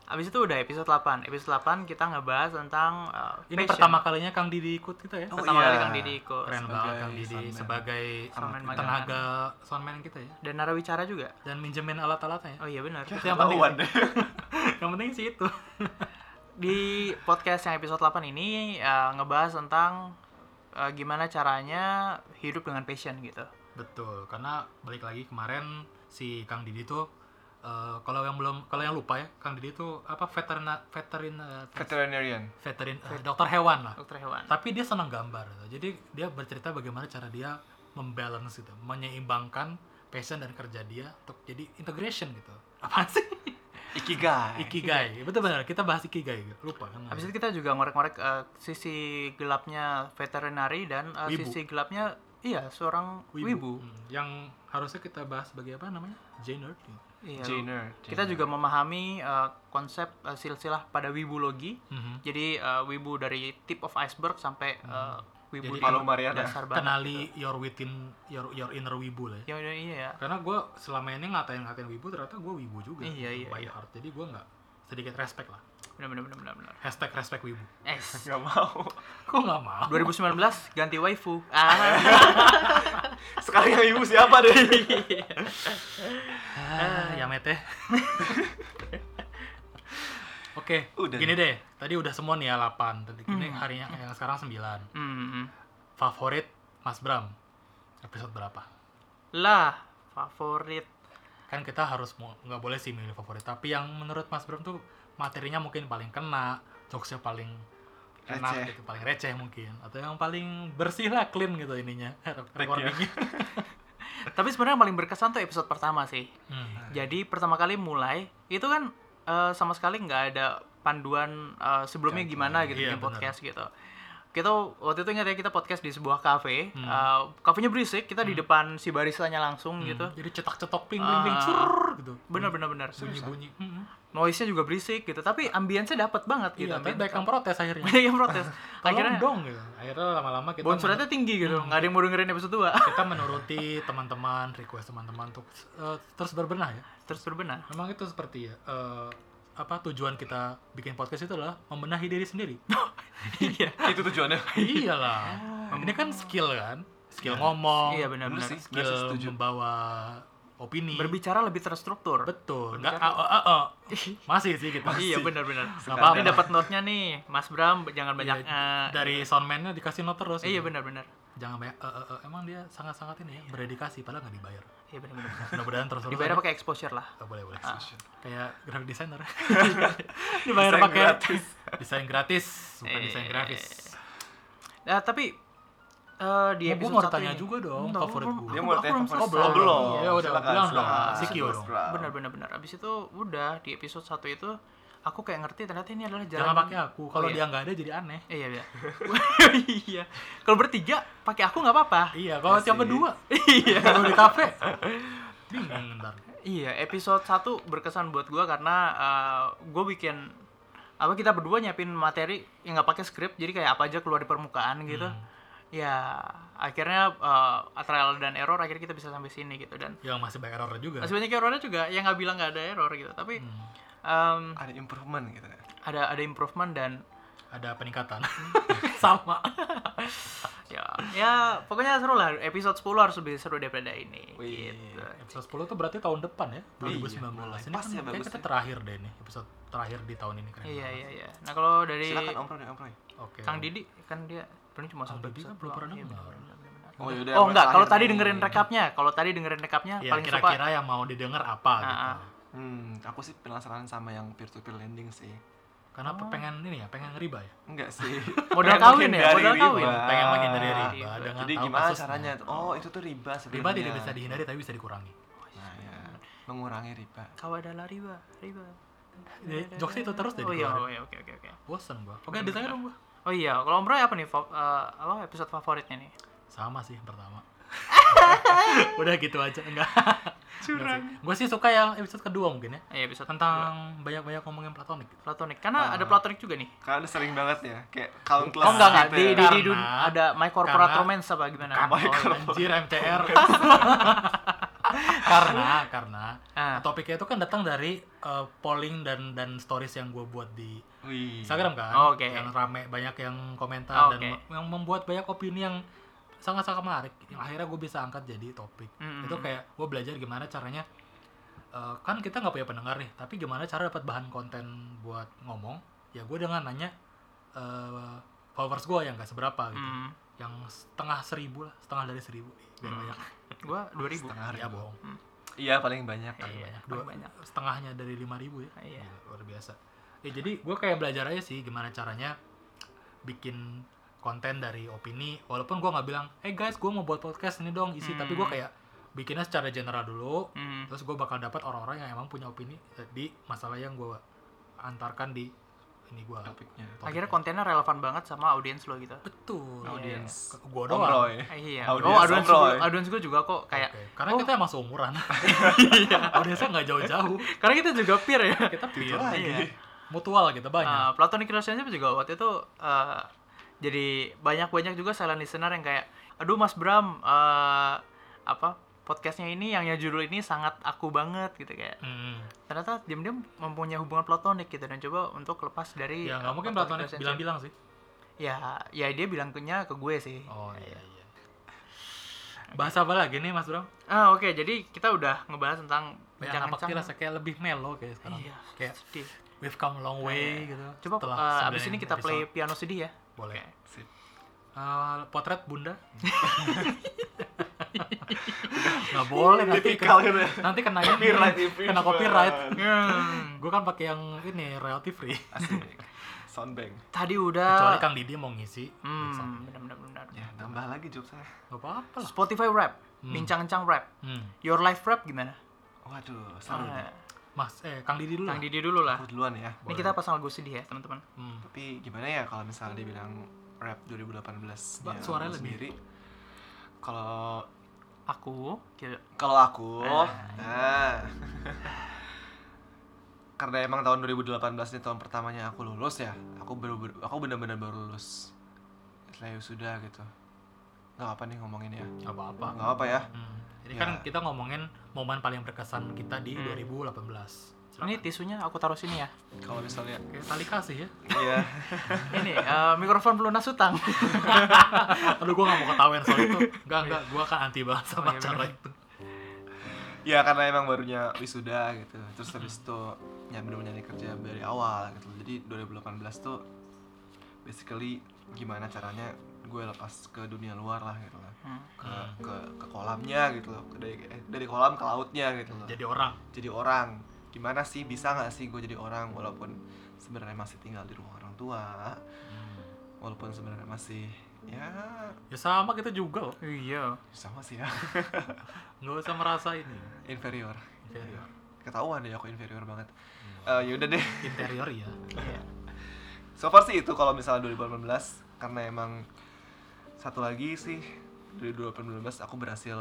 [SPEAKER 2] Abis itu udah episode 8. Episode 8 kita ngebahas tentang uh,
[SPEAKER 1] Ini
[SPEAKER 2] passion.
[SPEAKER 1] pertama kalinya Kang Didi ikut kita ya.
[SPEAKER 3] Oh,
[SPEAKER 2] pertama kali
[SPEAKER 3] iya.
[SPEAKER 2] Kang Didi ikut.
[SPEAKER 1] Keren
[SPEAKER 3] sebagai
[SPEAKER 1] banget Kang Didi
[SPEAKER 3] soundman.
[SPEAKER 1] sebagai
[SPEAKER 2] Soundman
[SPEAKER 1] tenaga
[SPEAKER 2] magang.
[SPEAKER 1] tenaga soundman kita ya.
[SPEAKER 2] Dan narawicara juga.
[SPEAKER 1] Dan minjemin alat-alatnya [laughs] ya.
[SPEAKER 2] Oh iya benar.
[SPEAKER 1] Itu yang penting.
[SPEAKER 3] ketahuan deh
[SPEAKER 1] Yang penting sih itu.
[SPEAKER 2] Di podcast yang episode 8 ini uh, ngebahas tentang uh, gimana caranya hidup dengan passion gitu.
[SPEAKER 1] Betul, karena balik lagi kemarin si Kang Didi tuh eh, kalau yang belum kalau yang lupa ya, Kang Didi tuh apa veterin veterin eh,
[SPEAKER 3] [laughs] veterinarian
[SPEAKER 1] veterin eh, dokter hewan lah.
[SPEAKER 2] Dokter hewan.
[SPEAKER 1] Tapi dia senang gambar. gitu. Jadi dia bercerita bagaimana cara dia membalance gitu, menyeimbangkan passion dan kerja dia untuk jadi integration gitu. Apa [laughs] sih?
[SPEAKER 3] ikigai
[SPEAKER 1] Ikigai. Betul benar, kita bahas ikigai. Lupa kan.
[SPEAKER 2] Habis itu kita juga ngorek-ngorek uh, sisi gelapnya veterinari dan uh,
[SPEAKER 1] Wibu.
[SPEAKER 2] sisi gelapnya iya seorang wibu.
[SPEAKER 1] Hmm, yang harusnya kita bahas sebagai apa namanya? Jenner.
[SPEAKER 2] Iya.
[SPEAKER 3] Jenner
[SPEAKER 2] Kita juga memahami uh, konsep uh, silsilah pada wibulogi.
[SPEAKER 1] Mm-hmm.
[SPEAKER 2] Jadi uh, wibu dari tip of iceberg sampai
[SPEAKER 3] Hmm.
[SPEAKER 2] uh, wibu
[SPEAKER 1] Jadi
[SPEAKER 2] di
[SPEAKER 3] Palu Mariana.
[SPEAKER 2] dasar banget. gitu.
[SPEAKER 1] Kenali your within your your inner wibu lah ya.
[SPEAKER 2] Ya udah, iya ya.
[SPEAKER 1] karena gue selama ini ngatain-ngatain wibu ternyata gue wibu juga gitu,
[SPEAKER 2] Iya, iya,
[SPEAKER 1] by
[SPEAKER 2] iya.
[SPEAKER 1] heart jadi gue nggak sedikit respect lah
[SPEAKER 2] Benar benar benar benar benar.
[SPEAKER 1] hashtag respect wibu [laughs]
[SPEAKER 2] Es.
[SPEAKER 3] [laughs] nggak mau
[SPEAKER 1] kok nggak mau
[SPEAKER 2] 2019 ganti
[SPEAKER 3] [laughs]
[SPEAKER 2] waifu. Ah.
[SPEAKER 3] sekarang yang ibu siapa deh
[SPEAKER 2] eh.
[SPEAKER 1] ah, ya [laughs] mete oke
[SPEAKER 3] Udah
[SPEAKER 1] gini deh tadi udah semua nih ya 8 tadi gini harinya yang sekarang 9
[SPEAKER 2] [laughs] Hmm.
[SPEAKER 1] favorit Mas Bram episode berapa
[SPEAKER 2] Lah, favorit.
[SPEAKER 1] kan kita harus mau- nggak boleh sih milih favorit tapi yang menurut Mas Bram tuh materinya mungkin paling kena jokesnya paling enak
[SPEAKER 3] Receh.
[SPEAKER 1] gitu paling receh mungkin atau yang paling bersih lah clean gitu ininya [laughs] recordingnya
[SPEAKER 2] Tapi sebenarnya yang paling berkesan tuh episode pertama sih.
[SPEAKER 1] Hmm.
[SPEAKER 2] Jadi pertama kali mulai itu kan eh, sama sekali nggak ada panduan eh, sebelumnya
[SPEAKER 3] Jangan.
[SPEAKER 2] gimana gitu
[SPEAKER 1] Iya,
[SPEAKER 2] bikin
[SPEAKER 1] benar.
[SPEAKER 2] podcast gitu. Kita waktu itu ingat ya kita podcast di sebuah kafe.
[SPEAKER 1] Hmm.
[SPEAKER 2] Eh, kafenya berisik, kita di depan si baristanya langsung gitu.
[SPEAKER 1] Hmm. jadi cetak-cetok ping ping ping
[SPEAKER 2] Ah.
[SPEAKER 1] curr, gitu
[SPEAKER 2] Bener bener bener.
[SPEAKER 1] bunyi bunyi Hmm.
[SPEAKER 2] Noise-nya juga berisik gitu, tapi ambience-nya dapat banget gitu.
[SPEAKER 1] iya tapi
[SPEAKER 2] [laughs]
[SPEAKER 1] banyak
[SPEAKER 2] ambience
[SPEAKER 1] yang protes akhirnya
[SPEAKER 2] banyak yang protes.
[SPEAKER 1] tolong
[SPEAKER 2] Akhirnya
[SPEAKER 1] dong Hmm. gitu akhirnya lama-lama kita
[SPEAKER 2] bonsurannya tinggi gitu, nggak ada yang mau dengerin episode [laughs] 2
[SPEAKER 1] men- kita menuruti teman-teman request teman-teman untuk eh, terus berbenah ya
[SPEAKER 2] Terus berbenah.
[SPEAKER 1] memang itu seperti ya eh, apa tujuan kita bikin podcast itu adalah membenahi diri sendiri
[SPEAKER 2] Iya,
[SPEAKER 3] itu tujuannya
[SPEAKER 1] iyalah ini kan skill kan skill ngomong
[SPEAKER 2] Oh. iya
[SPEAKER 3] bener
[SPEAKER 2] benar-benar.
[SPEAKER 3] sih
[SPEAKER 1] skill
[SPEAKER 3] sebenarnya sih setuju
[SPEAKER 1] membawa opini
[SPEAKER 2] Berbicara lebih terstruktur.
[SPEAKER 1] betul nggak
[SPEAKER 2] Berbicara.
[SPEAKER 1] ah, ah,
[SPEAKER 2] [laughs]
[SPEAKER 1] ah, ah. masih sih kita
[SPEAKER 2] Iya benar-benar.
[SPEAKER 1] Nggak
[SPEAKER 2] Ini
[SPEAKER 1] apa-apa.
[SPEAKER 2] dapat note-nya nih, Mas Bram jangan banyak eh,
[SPEAKER 1] Iya, dari soundman-nya dikasih note terus
[SPEAKER 2] Eh, Iya
[SPEAKER 1] gitu.
[SPEAKER 2] benar-benar.
[SPEAKER 1] jangan banyak eh, eh, eh. emang dia sangat-sangat ini ya berdedikasi padahal nggak dibayar
[SPEAKER 2] Iya benar-benar.
[SPEAKER 1] mudah-mudahan terus terus
[SPEAKER 2] Dibayar pakai Ah. exposure lah.
[SPEAKER 1] boleh boleh
[SPEAKER 3] Session.
[SPEAKER 1] kayak graphic designer [laughs] dibayar
[SPEAKER 3] Desain
[SPEAKER 1] pakai
[SPEAKER 3] gratis.
[SPEAKER 1] desain gratis bukan
[SPEAKER 2] Eh.
[SPEAKER 1] desain grafis
[SPEAKER 2] Nah, tapi eh
[SPEAKER 1] Oh,
[SPEAKER 2] di
[SPEAKER 1] gua
[SPEAKER 2] episode
[SPEAKER 1] mau
[SPEAKER 2] satu
[SPEAKER 1] tanya
[SPEAKER 2] ini-
[SPEAKER 1] juga dong,
[SPEAKER 2] Nggak,
[SPEAKER 1] favorit
[SPEAKER 2] belum-
[SPEAKER 1] gua.
[SPEAKER 3] dia
[SPEAKER 2] aku-
[SPEAKER 3] mau
[SPEAKER 2] aku
[SPEAKER 3] tanya
[SPEAKER 2] belum
[SPEAKER 3] favorit
[SPEAKER 1] Oh, belum,
[SPEAKER 2] selesai.
[SPEAKER 1] belum.
[SPEAKER 2] Iya.
[SPEAKER 1] Ya udah,
[SPEAKER 3] silakan,
[SPEAKER 1] bilang
[SPEAKER 3] silakan.
[SPEAKER 1] dong. Sikyo dong.
[SPEAKER 2] Benar benar benar. Abis itu udah di episode satu itu aku kayak ngerti ternyata ini adalah jalan
[SPEAKER 1] jangan pakai aku kalau
[SPEAKER 2] Oh, iya.
[SPEAKER 1] dia nggak ada jadi aneh
[SPEAKER 2] Eh, Iya iya. [laughs] iya. Kalau bertiga pakai aku nggak apa-apa.
[SPEAKER 1] iya kalau
[SPEAKER 3] Masih.
[SPEAKER 1] siapa dua
[SPEAKER 2] [laughs] Iya.
[SPEAKER 1] kalau di
[SPEAKER 2] [laughs]
[SPEAKER 1] kafe bingung ntar
[SPEAKER 2] Iya, episode 1 berkesan buat gua karena eh, gua bikin apa kita berdua nyiapin materi yang nggak pakai skrip jadi kayak apa aja keluar di permukaan gitu
[SPEAKER 1] Hmm.
[SPEAKER 2] ya akhirnya eh, trial dan error akhirnya kita bisa sampai sini gitu dan
[SPEAKER 1] yang masih banyak error juga
[SPEAKER 2] masih banyak errornya juga yang nggak bilang nggak ada error gitu tapi
[SPEAKER 1] Hmm.
[SPEAKER 2] em,
[SPEAKER 3] ada improvement gitu kan
[SPEAKER 2] ada ada improvement dan
[SPEAKER 1] ada peningkatan [laughs] sama
[SPEAKER 2] ya ya pokoknya seru lah episode 10 harus lebih seru daripada ini
[SPEAKER 3] Wih.
[SPEAKER 2] gitu
[SPEAKER 1] episode 10 tuh berarti tahun depan ya 2019 ini
[SPEAKER 3] Pas
[SPEAKER 1] kan
[SPEAKER 3] ya,
[SPEAKER 1] kayak
[SPEAKER 3] bagus
[SPEAKER 1] kita
[SPEAKER 3] ya.
[SPEAKER 1] terakhir deh nih episode terakhir di tahun ini keren
[SPEAKER 2] iya
[SPEAKER 1] banget.
[SPEAKER 2] iya iya nah kalau dari
[SPEAKER 3] silakan om Roy om Roy
[SPEAKER 1] oke
[SPEAKER 2] Kang Didi kan dia pernah cuma satu
[SPEAKER 1] Didi kan
[SPEAKER 2] episode
[SPEAKER 1] belum
[SPEAKER 2] doang.
[SPEAKER 1] pernah
[SPEAKER 2] Iya,
[SPEAKER 1] dengar.
[SPEAKER 2] benar, benar, benar.
[SPEAKER 3] oh yaudah
[SPEAKER 1] Iya,
[SPEAKER 2] Oh
[SPEAKER 3] mulai
[SPEAKER 2] enggak, kalau tadi
[SPEAKER 3] terakhir nih.
[SPEAKER 2] dengerin rekapnya, kalau tadi dengerin rekapnya
[SPEAKER 1] ya
[SPEAKER 2] paling suka
[SPEAKER 1] kira-kira yang mau didengar apa gitu
[SPEAKER 2] Ah, ah.
[SPEAKER 3] hmm aku sih penasaran sama yang peer to peer lending sih
[SPEAKER 1] karena apa pengen ini ya pengen riba ya
[SPEAKER 3] enggak sih
[SPEAKER 2] Modal
[SPEAKER 3] Pengen
[SPEAKER 2] kawin
[SPEAKER 3] menghindari
[SPEAKER 2] ya, modal
[SPEAKER 3] riba.
[SPEAKER 2] kawin.
[SPEAKER 1] pengen menghindari riba,
[SPEAKER 2] Riba.
[SPEAKER 1] dengan
[SPEAKER 3] jadi
[SPEAKER 1] tahu
[SPEAKER 3] gimana
[SPEAKER 1] kasusnya.
[SPEAKER 3] caranya oh itu tuh riba sebenarnya
[SPEAKER 1] riba tidak bisa dihindari tapi bisa dikurangi
[SPEAKER 3] Nah, ya. mengurangi riba
[SPEAKER 2] Kau adalah riba, riba.
[SPEAKER 1] Ya, jokes itu terus deh
[SPEAKER 2] Oh iya,
[SPEAKER 1] dikeluarin.
[SPEAKER 2] oh iya, oke oke oke.
[SPEAKER 1] bosen gua oke desainnya dong gua
[SPEAKER 2] Oh iya, kalau Om Roy apa nih fa- eh, apa episode favoritnya nih?
[SPEAKER 1] sama sih yang [laughs] pertama udah gitu aja enggak curang gue sih suka yang episode kedua mungkin ya
[SPEAKER 2] Eh, episode
[SPEAKER 1] tentang banyak-banyak ngomongin platonik gitu.
[SPEAKER 2] platonik. Karena ada platonik juga nih.
[SPEAKER 3] karena udah sering banget ya kayak countless
[SPEAKER 2] Oh enggak enggak,
[SPEAKER 3] gitu
[SPEAKER 2] di
[SPEAKER 3] ya.
[SPEAKER 2] di, di
[SPEAKER 1] Karena-
[SPEAKER 2] dun- ada My Corporate
[SPEAKER 1] karena-
[SPEAKER 2] Romance apa gimana?
[SPEAKER 1] [laughs]
[SPEAKER 3] My
[SPEAKER 2] Oh,
[SPEAKER 3] Corporate-
[SPEAKER 1] anjir MCR [laughs] karena karena
[SPEAKER 2] Ah.
[SPEAKER 1] topiknya itu kan datang dari eh, polling dan dan stories yang gue buat di
[SPEAKER 3] Wih.
[SPEAKER 1] Instagram kan
[SPEAKER 2] Oh, oke.
[SPEAKER 1] yang rame banyak yang
[SPEAKER 2] Oh,
[SPEAKER 1] komentar dan
[SPEAKER 2] oke.
[SPEAKER 1] me- yang membuat banyak opini yang sangat-sangat menarik yang akhirnya gue bisa angkat jadi topik
[SPEAKER 2] Mm, mm,
[SPEAKER 1] itu kayak gue belajar gimana caranya eh, kan kita nggak punya pendengar nih tapi gimana cara dapat bahan konten buat ngomong ya gue dengan nanya eh, followers gue yang nggak seberapa gitu
[SPEAKER 2] Hmm.
[SPEAKER 1] yang setengah seribu lah setengah dari seribu biar
[SPEAKER 2] Hmm.
[SPEAKER 1] banyak
[SPEAKER 2] Gua 2000.
[SPEAKER 3] Setengah
[SPEAKER 1] ya
[SPEAKER 3] ribu.
[SPEAKER 1] bohong
[SPEAKER 3] iya paling banyak
[SPEAKER 2] Iya,
[SPEAKER 1] Paling banyak.
[SPEAKER 2] paling
[SPEAKER 1] Dua-
[SPEAKER 2] banyak.
[SPEAKER 1] setengahnya dari lima ribu ya
[SPEAKER 2] Iya.
[SPEAKER 1] Gila, luar biasa ya jadi gue kayak belajar aja sih gimana caranya bikin konten dari opini walaupun gue nggak bilang eh guys gue mau buat podcast ini dong isi tapi gue
[SPEAKER 2] Hmm.
[SPEAKER 1] kayak bikinnya secara general dulu
[SPEAKER 2] Hmm.
[SPEAKER 1] terus gue bakal dapat orang-orang yang emang punya opini eh, di masalah yang gue antarkan di ini gue
[SPEAKER 3] topiknya
[SPEAKER 2] Akhirnya kontennya relevan banget sama audiens lo gitu.
[SPEAKER 1] betul
[SPEAKER 3] audience ya?
[SPEAKER 1] gue
[SPEAKER 3] Om
[SPEAKER 1] doang
[SPEAKER 3] Roy.
[SPEAKER 2] Ah, Iya. Oh,
[SPEAKER 3] Audiens
[SPEAKER 2] audiens
[SPEAKER 3] Om Roy.
[SPEAKER 2] gua- audiens gue juga kok kayak oh,
[SPEAKER 1] Oke, karena kita emang
[SPEAKER 2] [laughs]
[SPEAKER 1] seumuran Iya. audiensnya nggak jauh-jauh
[SPEAKER 2] karena kita juga peer ya.
[SPEAKER 1] kita
[SPEAKER 3] Gitu
[SPEAKER 1] peer
[SPEAKER 3] lagi.
[SPEAKER 2] Iya.
[SPEAKER 1] mutual gitu banyak
[SPEAKER 2] Uh, platonic relationship juga waktu itu uh, jadi banyak-banyak juga silent listener yang kayak aduh Mas Bram uh, apa podcastnya ini yang yang judul ini sangat aku banget gitu kayak
[SPEAKER 1] Hmm.
[SPEAKER 2] ternyata diam-diam mempunyai hubungan platonik gitu dan coba untuk lepas dari
[SPEAKER 1] ya nggak
[SPEAKER 2] uh,
[SPEAKER 1] mungkin
[SPEAKER 2] platonic
[SPEAKER 1] platonik
[SPEAKER 2] relationship.
[SPEAKER 1] bilang-bilang sih
[SPEAKER 2] ya ya dia bilangnya ke gue sih
[SPEAKER 1] oh iya iya bahasa apa lagi nih mas Bram
[SPEAKER 2] ah oke jadi kita udah ngebahas tentang
[SPEAKER 1] Banyak
[SPEAKER 2] jangan
[SPEAKER 1] apa
[SPEAKER 2] cang-
[SPEAKER 1] rasa kayak lebih mellow kayak sekarang
[SPEAKER 2] iya
[SPEAKER 1] kayak
[SPEAKER 2] sedih.
[SPEAKER 1] we've come a long way gitu
[SPEAKER 2] coba
[SPEAKER 1] Setelah
[SPEAKER 2] uh, abis
[SPEAKER 1] 9
[SPEAKER 2] ini kita play
[SPEAKER 1] episode.
[SPEAKER 2] piano sedih
[SPEAKER 1] [laughs]
[SPEAKER 2] ya
[SPEAKER 1] boleh
[SPEAKER 2] Oke.
[SPEAKER 3] Sip.
[SPEAKER 1] Eh, potret
[SPEAKER 2] [laughs]
[SPEAKER 1] bunda nggak boleh nanti kena,
[SPEAKER 3] gitu ya.
[SPEAKER 1] nanti kena ini,
[SPEAKER 3] Copyright, infringement.
[SPEAKER 1] kena copyright
[SPEAKER 2] Hmm.
[SPEAKER 1] gue kan pakai yang ini royalty free
[SPEAKER 3] Asik. Soundbank.
[SPEAKER 2] tadi udah
[SPEAKER 1] kecuali kang Didi mau ngisi
[SPEAKER 2] Eh, Hmm, benar benar benar.
[SPEAKER 3] Ya, tambah lagi job saya.
[SPEAKER 1] nggak apa-apa lah
[SPEAKER 2] Ah. Spotify rap, bincang-bincang rap.
[SPEAKER 1] hmm.
[SPEAKER 2] Your life rap gimana?
[SPEAKER 3] Waduh, seru nih.
[SPEAKER 2] Ah, iya.
[SPEAKER 1] mas eh kang Didi dulu lah
[SPEAKER 2] Kang Didi dulu lah.
[SPEAKER 3] Aku duluan ya.
[SPEAKER 2] Ini kita pasang lagu sedih ya, teman-teman.
[SPEAKER 1] Hmm.
[SPEAKER 3] Tapi gimana ya kalau misalnya dia bilang rap 2018
[SPEAKER 1] Mbak, suaranya lebih.
[SPEAKER 3] Kalau
[SPEAKER 2] Aku gitu.
[SPEAKER 3] kalau aku nah. [laughs] karena emang tahun 2018 ini tahun pertamanya aku lulus ya aku baru baru- aku benar-benar baru lulus Setelah sudah gitu nggak apa nih ngomongin ya
[SPEAKER 1] nggak apa-apa
[SPEAKER 3] nggak apa ya
[SPEAKER 1] Hmm. Jadi
[SPEAKER 3] Ya.
[SPEAKER 1] kan kita ngomongin momen paling berkesan kita di 2018. Silakan.
[SPEAKER 2] Hmm. Ini tisunya aku taruh sini ya.
[SPEAKER 3] kalau misalnya
[SPEAKER 1] Kayak tali kasih ya.
[SPEAKER 3] iya [laughs]
[SPEAKER 2] Ini eh, mikrofon pelunas [laughs] utang.
[SPEAKER 1] Aduh gua nggak mau ketahuan soal itu. Enggak enggak, gua kan anti banget sama
[SPEAKER 2] Oh, iya,
[SPEAKER 1] cara
[SPEAKER 2] bener.
[SPEAKER 1] itu.
[SPEAKER 3] ya karena emang barunya wisuda gitu terus habis itu ya bener nyari kerja dari awal gitu jadi 2018 tuh basically gimana caranya gue lepas ke dunia luar lah gitu lah
[SPEAKER 2] Hmm.
[SPEAKER 3] ke ke, ke kolamnya gitu loh dari eh, dari kolam ke lautnya gitu loh
[SPEAKER 1] Jadi orang.
[SPEAKER 3] jadi orang gimana sih bisa nggak sih gue jadi orang walaupun sebenarnya masih tinggal di rumah orang tua walaupun sebenarnya masih ya
[SPEAKER 1] Hmm. Ya sama kita juga loh.
[SPEAKER 2] Iya.
[SPEAKER 3] sama sih ya [laughs]
[SPEAKER 1] Enggak usah merasa ini.
[SPEAKER 3] inferior
[SPEAKER 1] Inferior. Hmm.
[SPEAKER 3] ketahuan deh aku inferior banget Eh yaudah deh
[SPEAKER 1] Interior ya.
[SPEAKER 2] Iya.
[SPEAKER 3] so far sih itu kalau misalnya 2018 karena emang satu lagi sih dari 2018 aku berhasil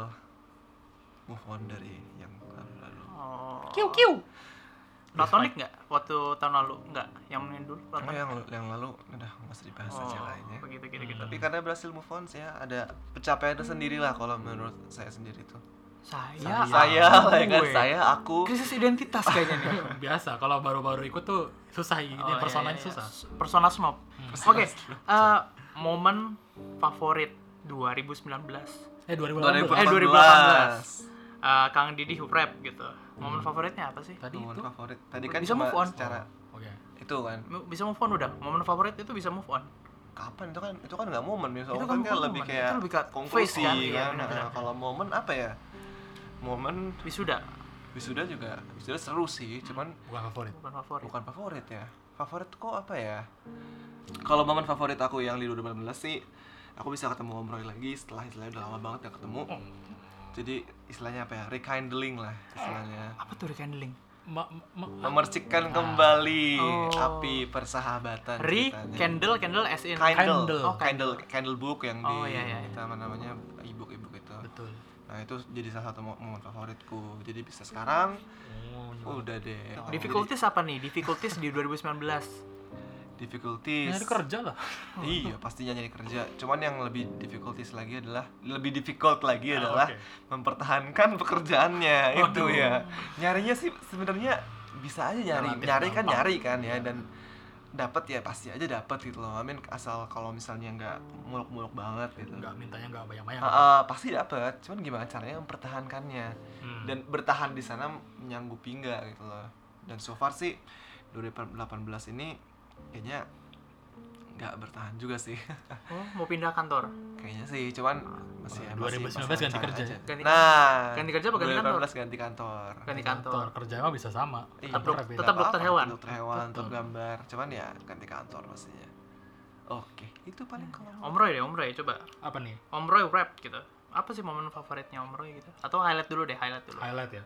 [SPEAKER 3] move on dari yang lalu-lalu
[SPEAKER 2] Oh.
[SPEAKER 1] Kiu kiu.
[SPEAKER 2] Platonic nggak waktu tahun lalu nggak yang ini dulu
[SPEAKER 3] Oh,
[SPEAKER 2] Platonic
[SPEAKER 3] yang yang lalu udah nggak usah dibahas aja lah ini. Hmm.
[SPEAKER 2] begitu gitu gitu
[SPEAKER 3] Oh. Tapi karena berhasil move on saya ada pencapaian tersendiri lah kalau menurut saya sendiri tuh.
[SPEAKER 2] saya
[SPEAKER 3] saya
[SPEAKER 2] aku,
[SPEAKER 3] lah ya kan
[SPEAKER 2] gue.
[SPEAKER 3] saya aku
[SPEAKER 2] krisis identitas kayaknya [laughs] nih
[SPEAKER 1] biasa kalau baru-baru ikut tuh susah ini
[SPEAKER 2] Oh, iya,
[SPEAKER 1] personanya
[SPEAKER 2] iya.
[SPEAKER 1] susah
[SPEAKER 2] persona snob [laughs] oke eh, momen favorit 2019
[SPEAKER 1] eh 2018
[SPEAKER 2] Eh, 2018. Eh, Kang Didi Huprep gitu momen favoritnya apa sih
[SPEAKER 1] tadi
[SPEAKER 3] Momen
[SPEAKER 1] itu
[SPEAKER 3] favorit tadi kan
[SPEAKER 2] Bisa
[SPEAKER 3] cuma
[SPEAKER 2] move on.
[SPEAKER 3] secara
[SPEAKER 1] oke
[SPEAKER 3] itu kan
[SPEAKER 2] Mu- bisa move on udah momen favorit itu bisa move on
[SPEAKER 3] kapan itu kan itu kan nggak momen itu
[SPEAKER 2] Itu kan
[SPEAKER 3] kan, kan
[SPEAKER 2] bukan
[SPEAKER 3] lebih
[SPEAKER 2] momen,
[SPEAKER 3] kayak
[SPEAKER 2] itu lebih ke
[SPEAKER 3] konklusi
[SPEAKER 2] phase kan,
[SPEAKER 3] kan,
[SPEAKER 2] iya, benar-benar.
[SPEAKER 3] Nah, kalau momen apa ya momen
[SPEAKER 2] wisuda
[SPEAKER 3] wisuda juga wisuda seru sih cuman
[SPEAKER 1] bukan favorit
[SPEAKER 2] bukan favorit
[SPEAKER 3] bukan favorit ya favorit kok apa ya kalau momen favorit aku yang di 2018 sih aku bisa ketemu Om Roy lagi setelah istilahnya udah lama banget gak ketemu
[SPEAKER 2] Mm.
[SPEAKER 3] jadi istilahnya apa ya rekindling lah istilahnya
[SPEAKER 2] apa tuh rekindling
[SPEAKER 1] Ma- ma-
[SPEAKER 3] memercikkan kembali
[SPEAKER 2] Ah. Oh.
[SPEAKER 3] api persahabatan
[SPEAKER 2] re
[SPEAKER 3] ceritanya.
[SPEAKER 2] candle candle as in
[SPEAKER 3] Kindle.
[SPEAKER 1] Kindle.
[SPEAKER 2] Oh,
[SPEAKER 3] Kindle Kindle book yang
[SPEAKER 2] Oh,
[SPEAKER 3] di
[SPEAKER 2] iya, iya, iya.
[SPEAKER 3] kita apa namanya ebook-ebook itu.
[SPEAKER 1] betul
[SPEAKER 3] Nah, itu jadi salah satu mo- momen favoritku. Jadi bisa sekarang
[SPEAKER 2] iya.
[SPEAKER 1] oh,
[SPEAKER 3] udah deh. Kalau
[SPEAKER 2] difficulties apa nih difficulties di 2019
[SPEAKER 3] jadi Difficulties.
[SPEAKER 1] nyari kerja lah
[SPEAKER 3] Iya,
[SPEAKER 1] gitu.
[SPEAKER 3] pastinya nyari kerja. Cuman yang lebih difficulties lagi adalah lebih difficult lagi adalah
[SPEAKER 1] Ah, oke.
[SPEAKER 3] mempertahankan pekerjaannya itu
[SPEAKER 1] Waduh.
[SPEAKER 3] ya. Nyarinya sih sebenarnya bisa aja nyari.
[SPEAKER 1] Relatif
[SPEAKER 3] nyari kan
[SPEAKER 1] gampang. Iya.
[SPEAKER 3] nyari kan ya dan dapat ya pasti aja dapat gitu loh. Amin asal kalau misalnya nggak muluk-muluk banget gitu.
[SPEAKER 1] nggak mintanya nggak bayang-bayang
[SPEAKER 3] Ah, ah, pasti dapat, cuman gimana caranya mempertahankannya
[SPEAKER 1] Hmm.
[SPEAKER 3] dan bertahan di sana menyanggupi nggak gitu loh. Dan so far sih 2018 ini kayaknya nggak bertahan juga sih.
[SPEAKER 2] oh mau pindah kantor
[SPEAKER 3] kayaknya sih, cuman masih
[SPEAKER 1] Wah,
[SPEAKER 3] masih
[SPEAKER 1] 2019
[SPEAKER 3] pasangan
[SPEAKER 1] ganti
[SPEAKER 3] cara
[SPEAKER 1] kerja
[SPEAKER 3] aja.
[SPEAKER 1] ya?
[SPEAKER 2] Ganti-
[SPEAKER 3] nah,
[SPEAKER 2] ganti kerja apa ganti
[SPEAKER 3] 2018 ganti kantor.
[SPEAKER 2] ganti kantor
[SPEAKER 1] kerja mah bisa sama
[SPEAKER 3] Iya.
[SPEAKER 1] kantor
[SPEAKER 2] Tetap-
[SPEAKER 1] beda.
[SPEAKER 2] tetap
[SPEAKER 3] Nggak
[SPEAKER 2] dokter
[SPEAKER 3] apa-apa,
[SPEAKER 2] hewan.
[SPEAKER 3] Dokter hewan,
[SPEAKER 1] Betul.
[SPEAKER 3] untuk gambar. Cuman ya ganti kantor pastinya. Oke, itu paling kalau
[SPEAKER 2] Om Roy deh Om Roy coba
[SPEAKER 1] apa nih
[SPEAKER 2] Om Roy rap gitu apa sih momen favoritnya Om Roy gitu atau highlight dulu deh highlight dulu
[SPEAKER 1] highlight ya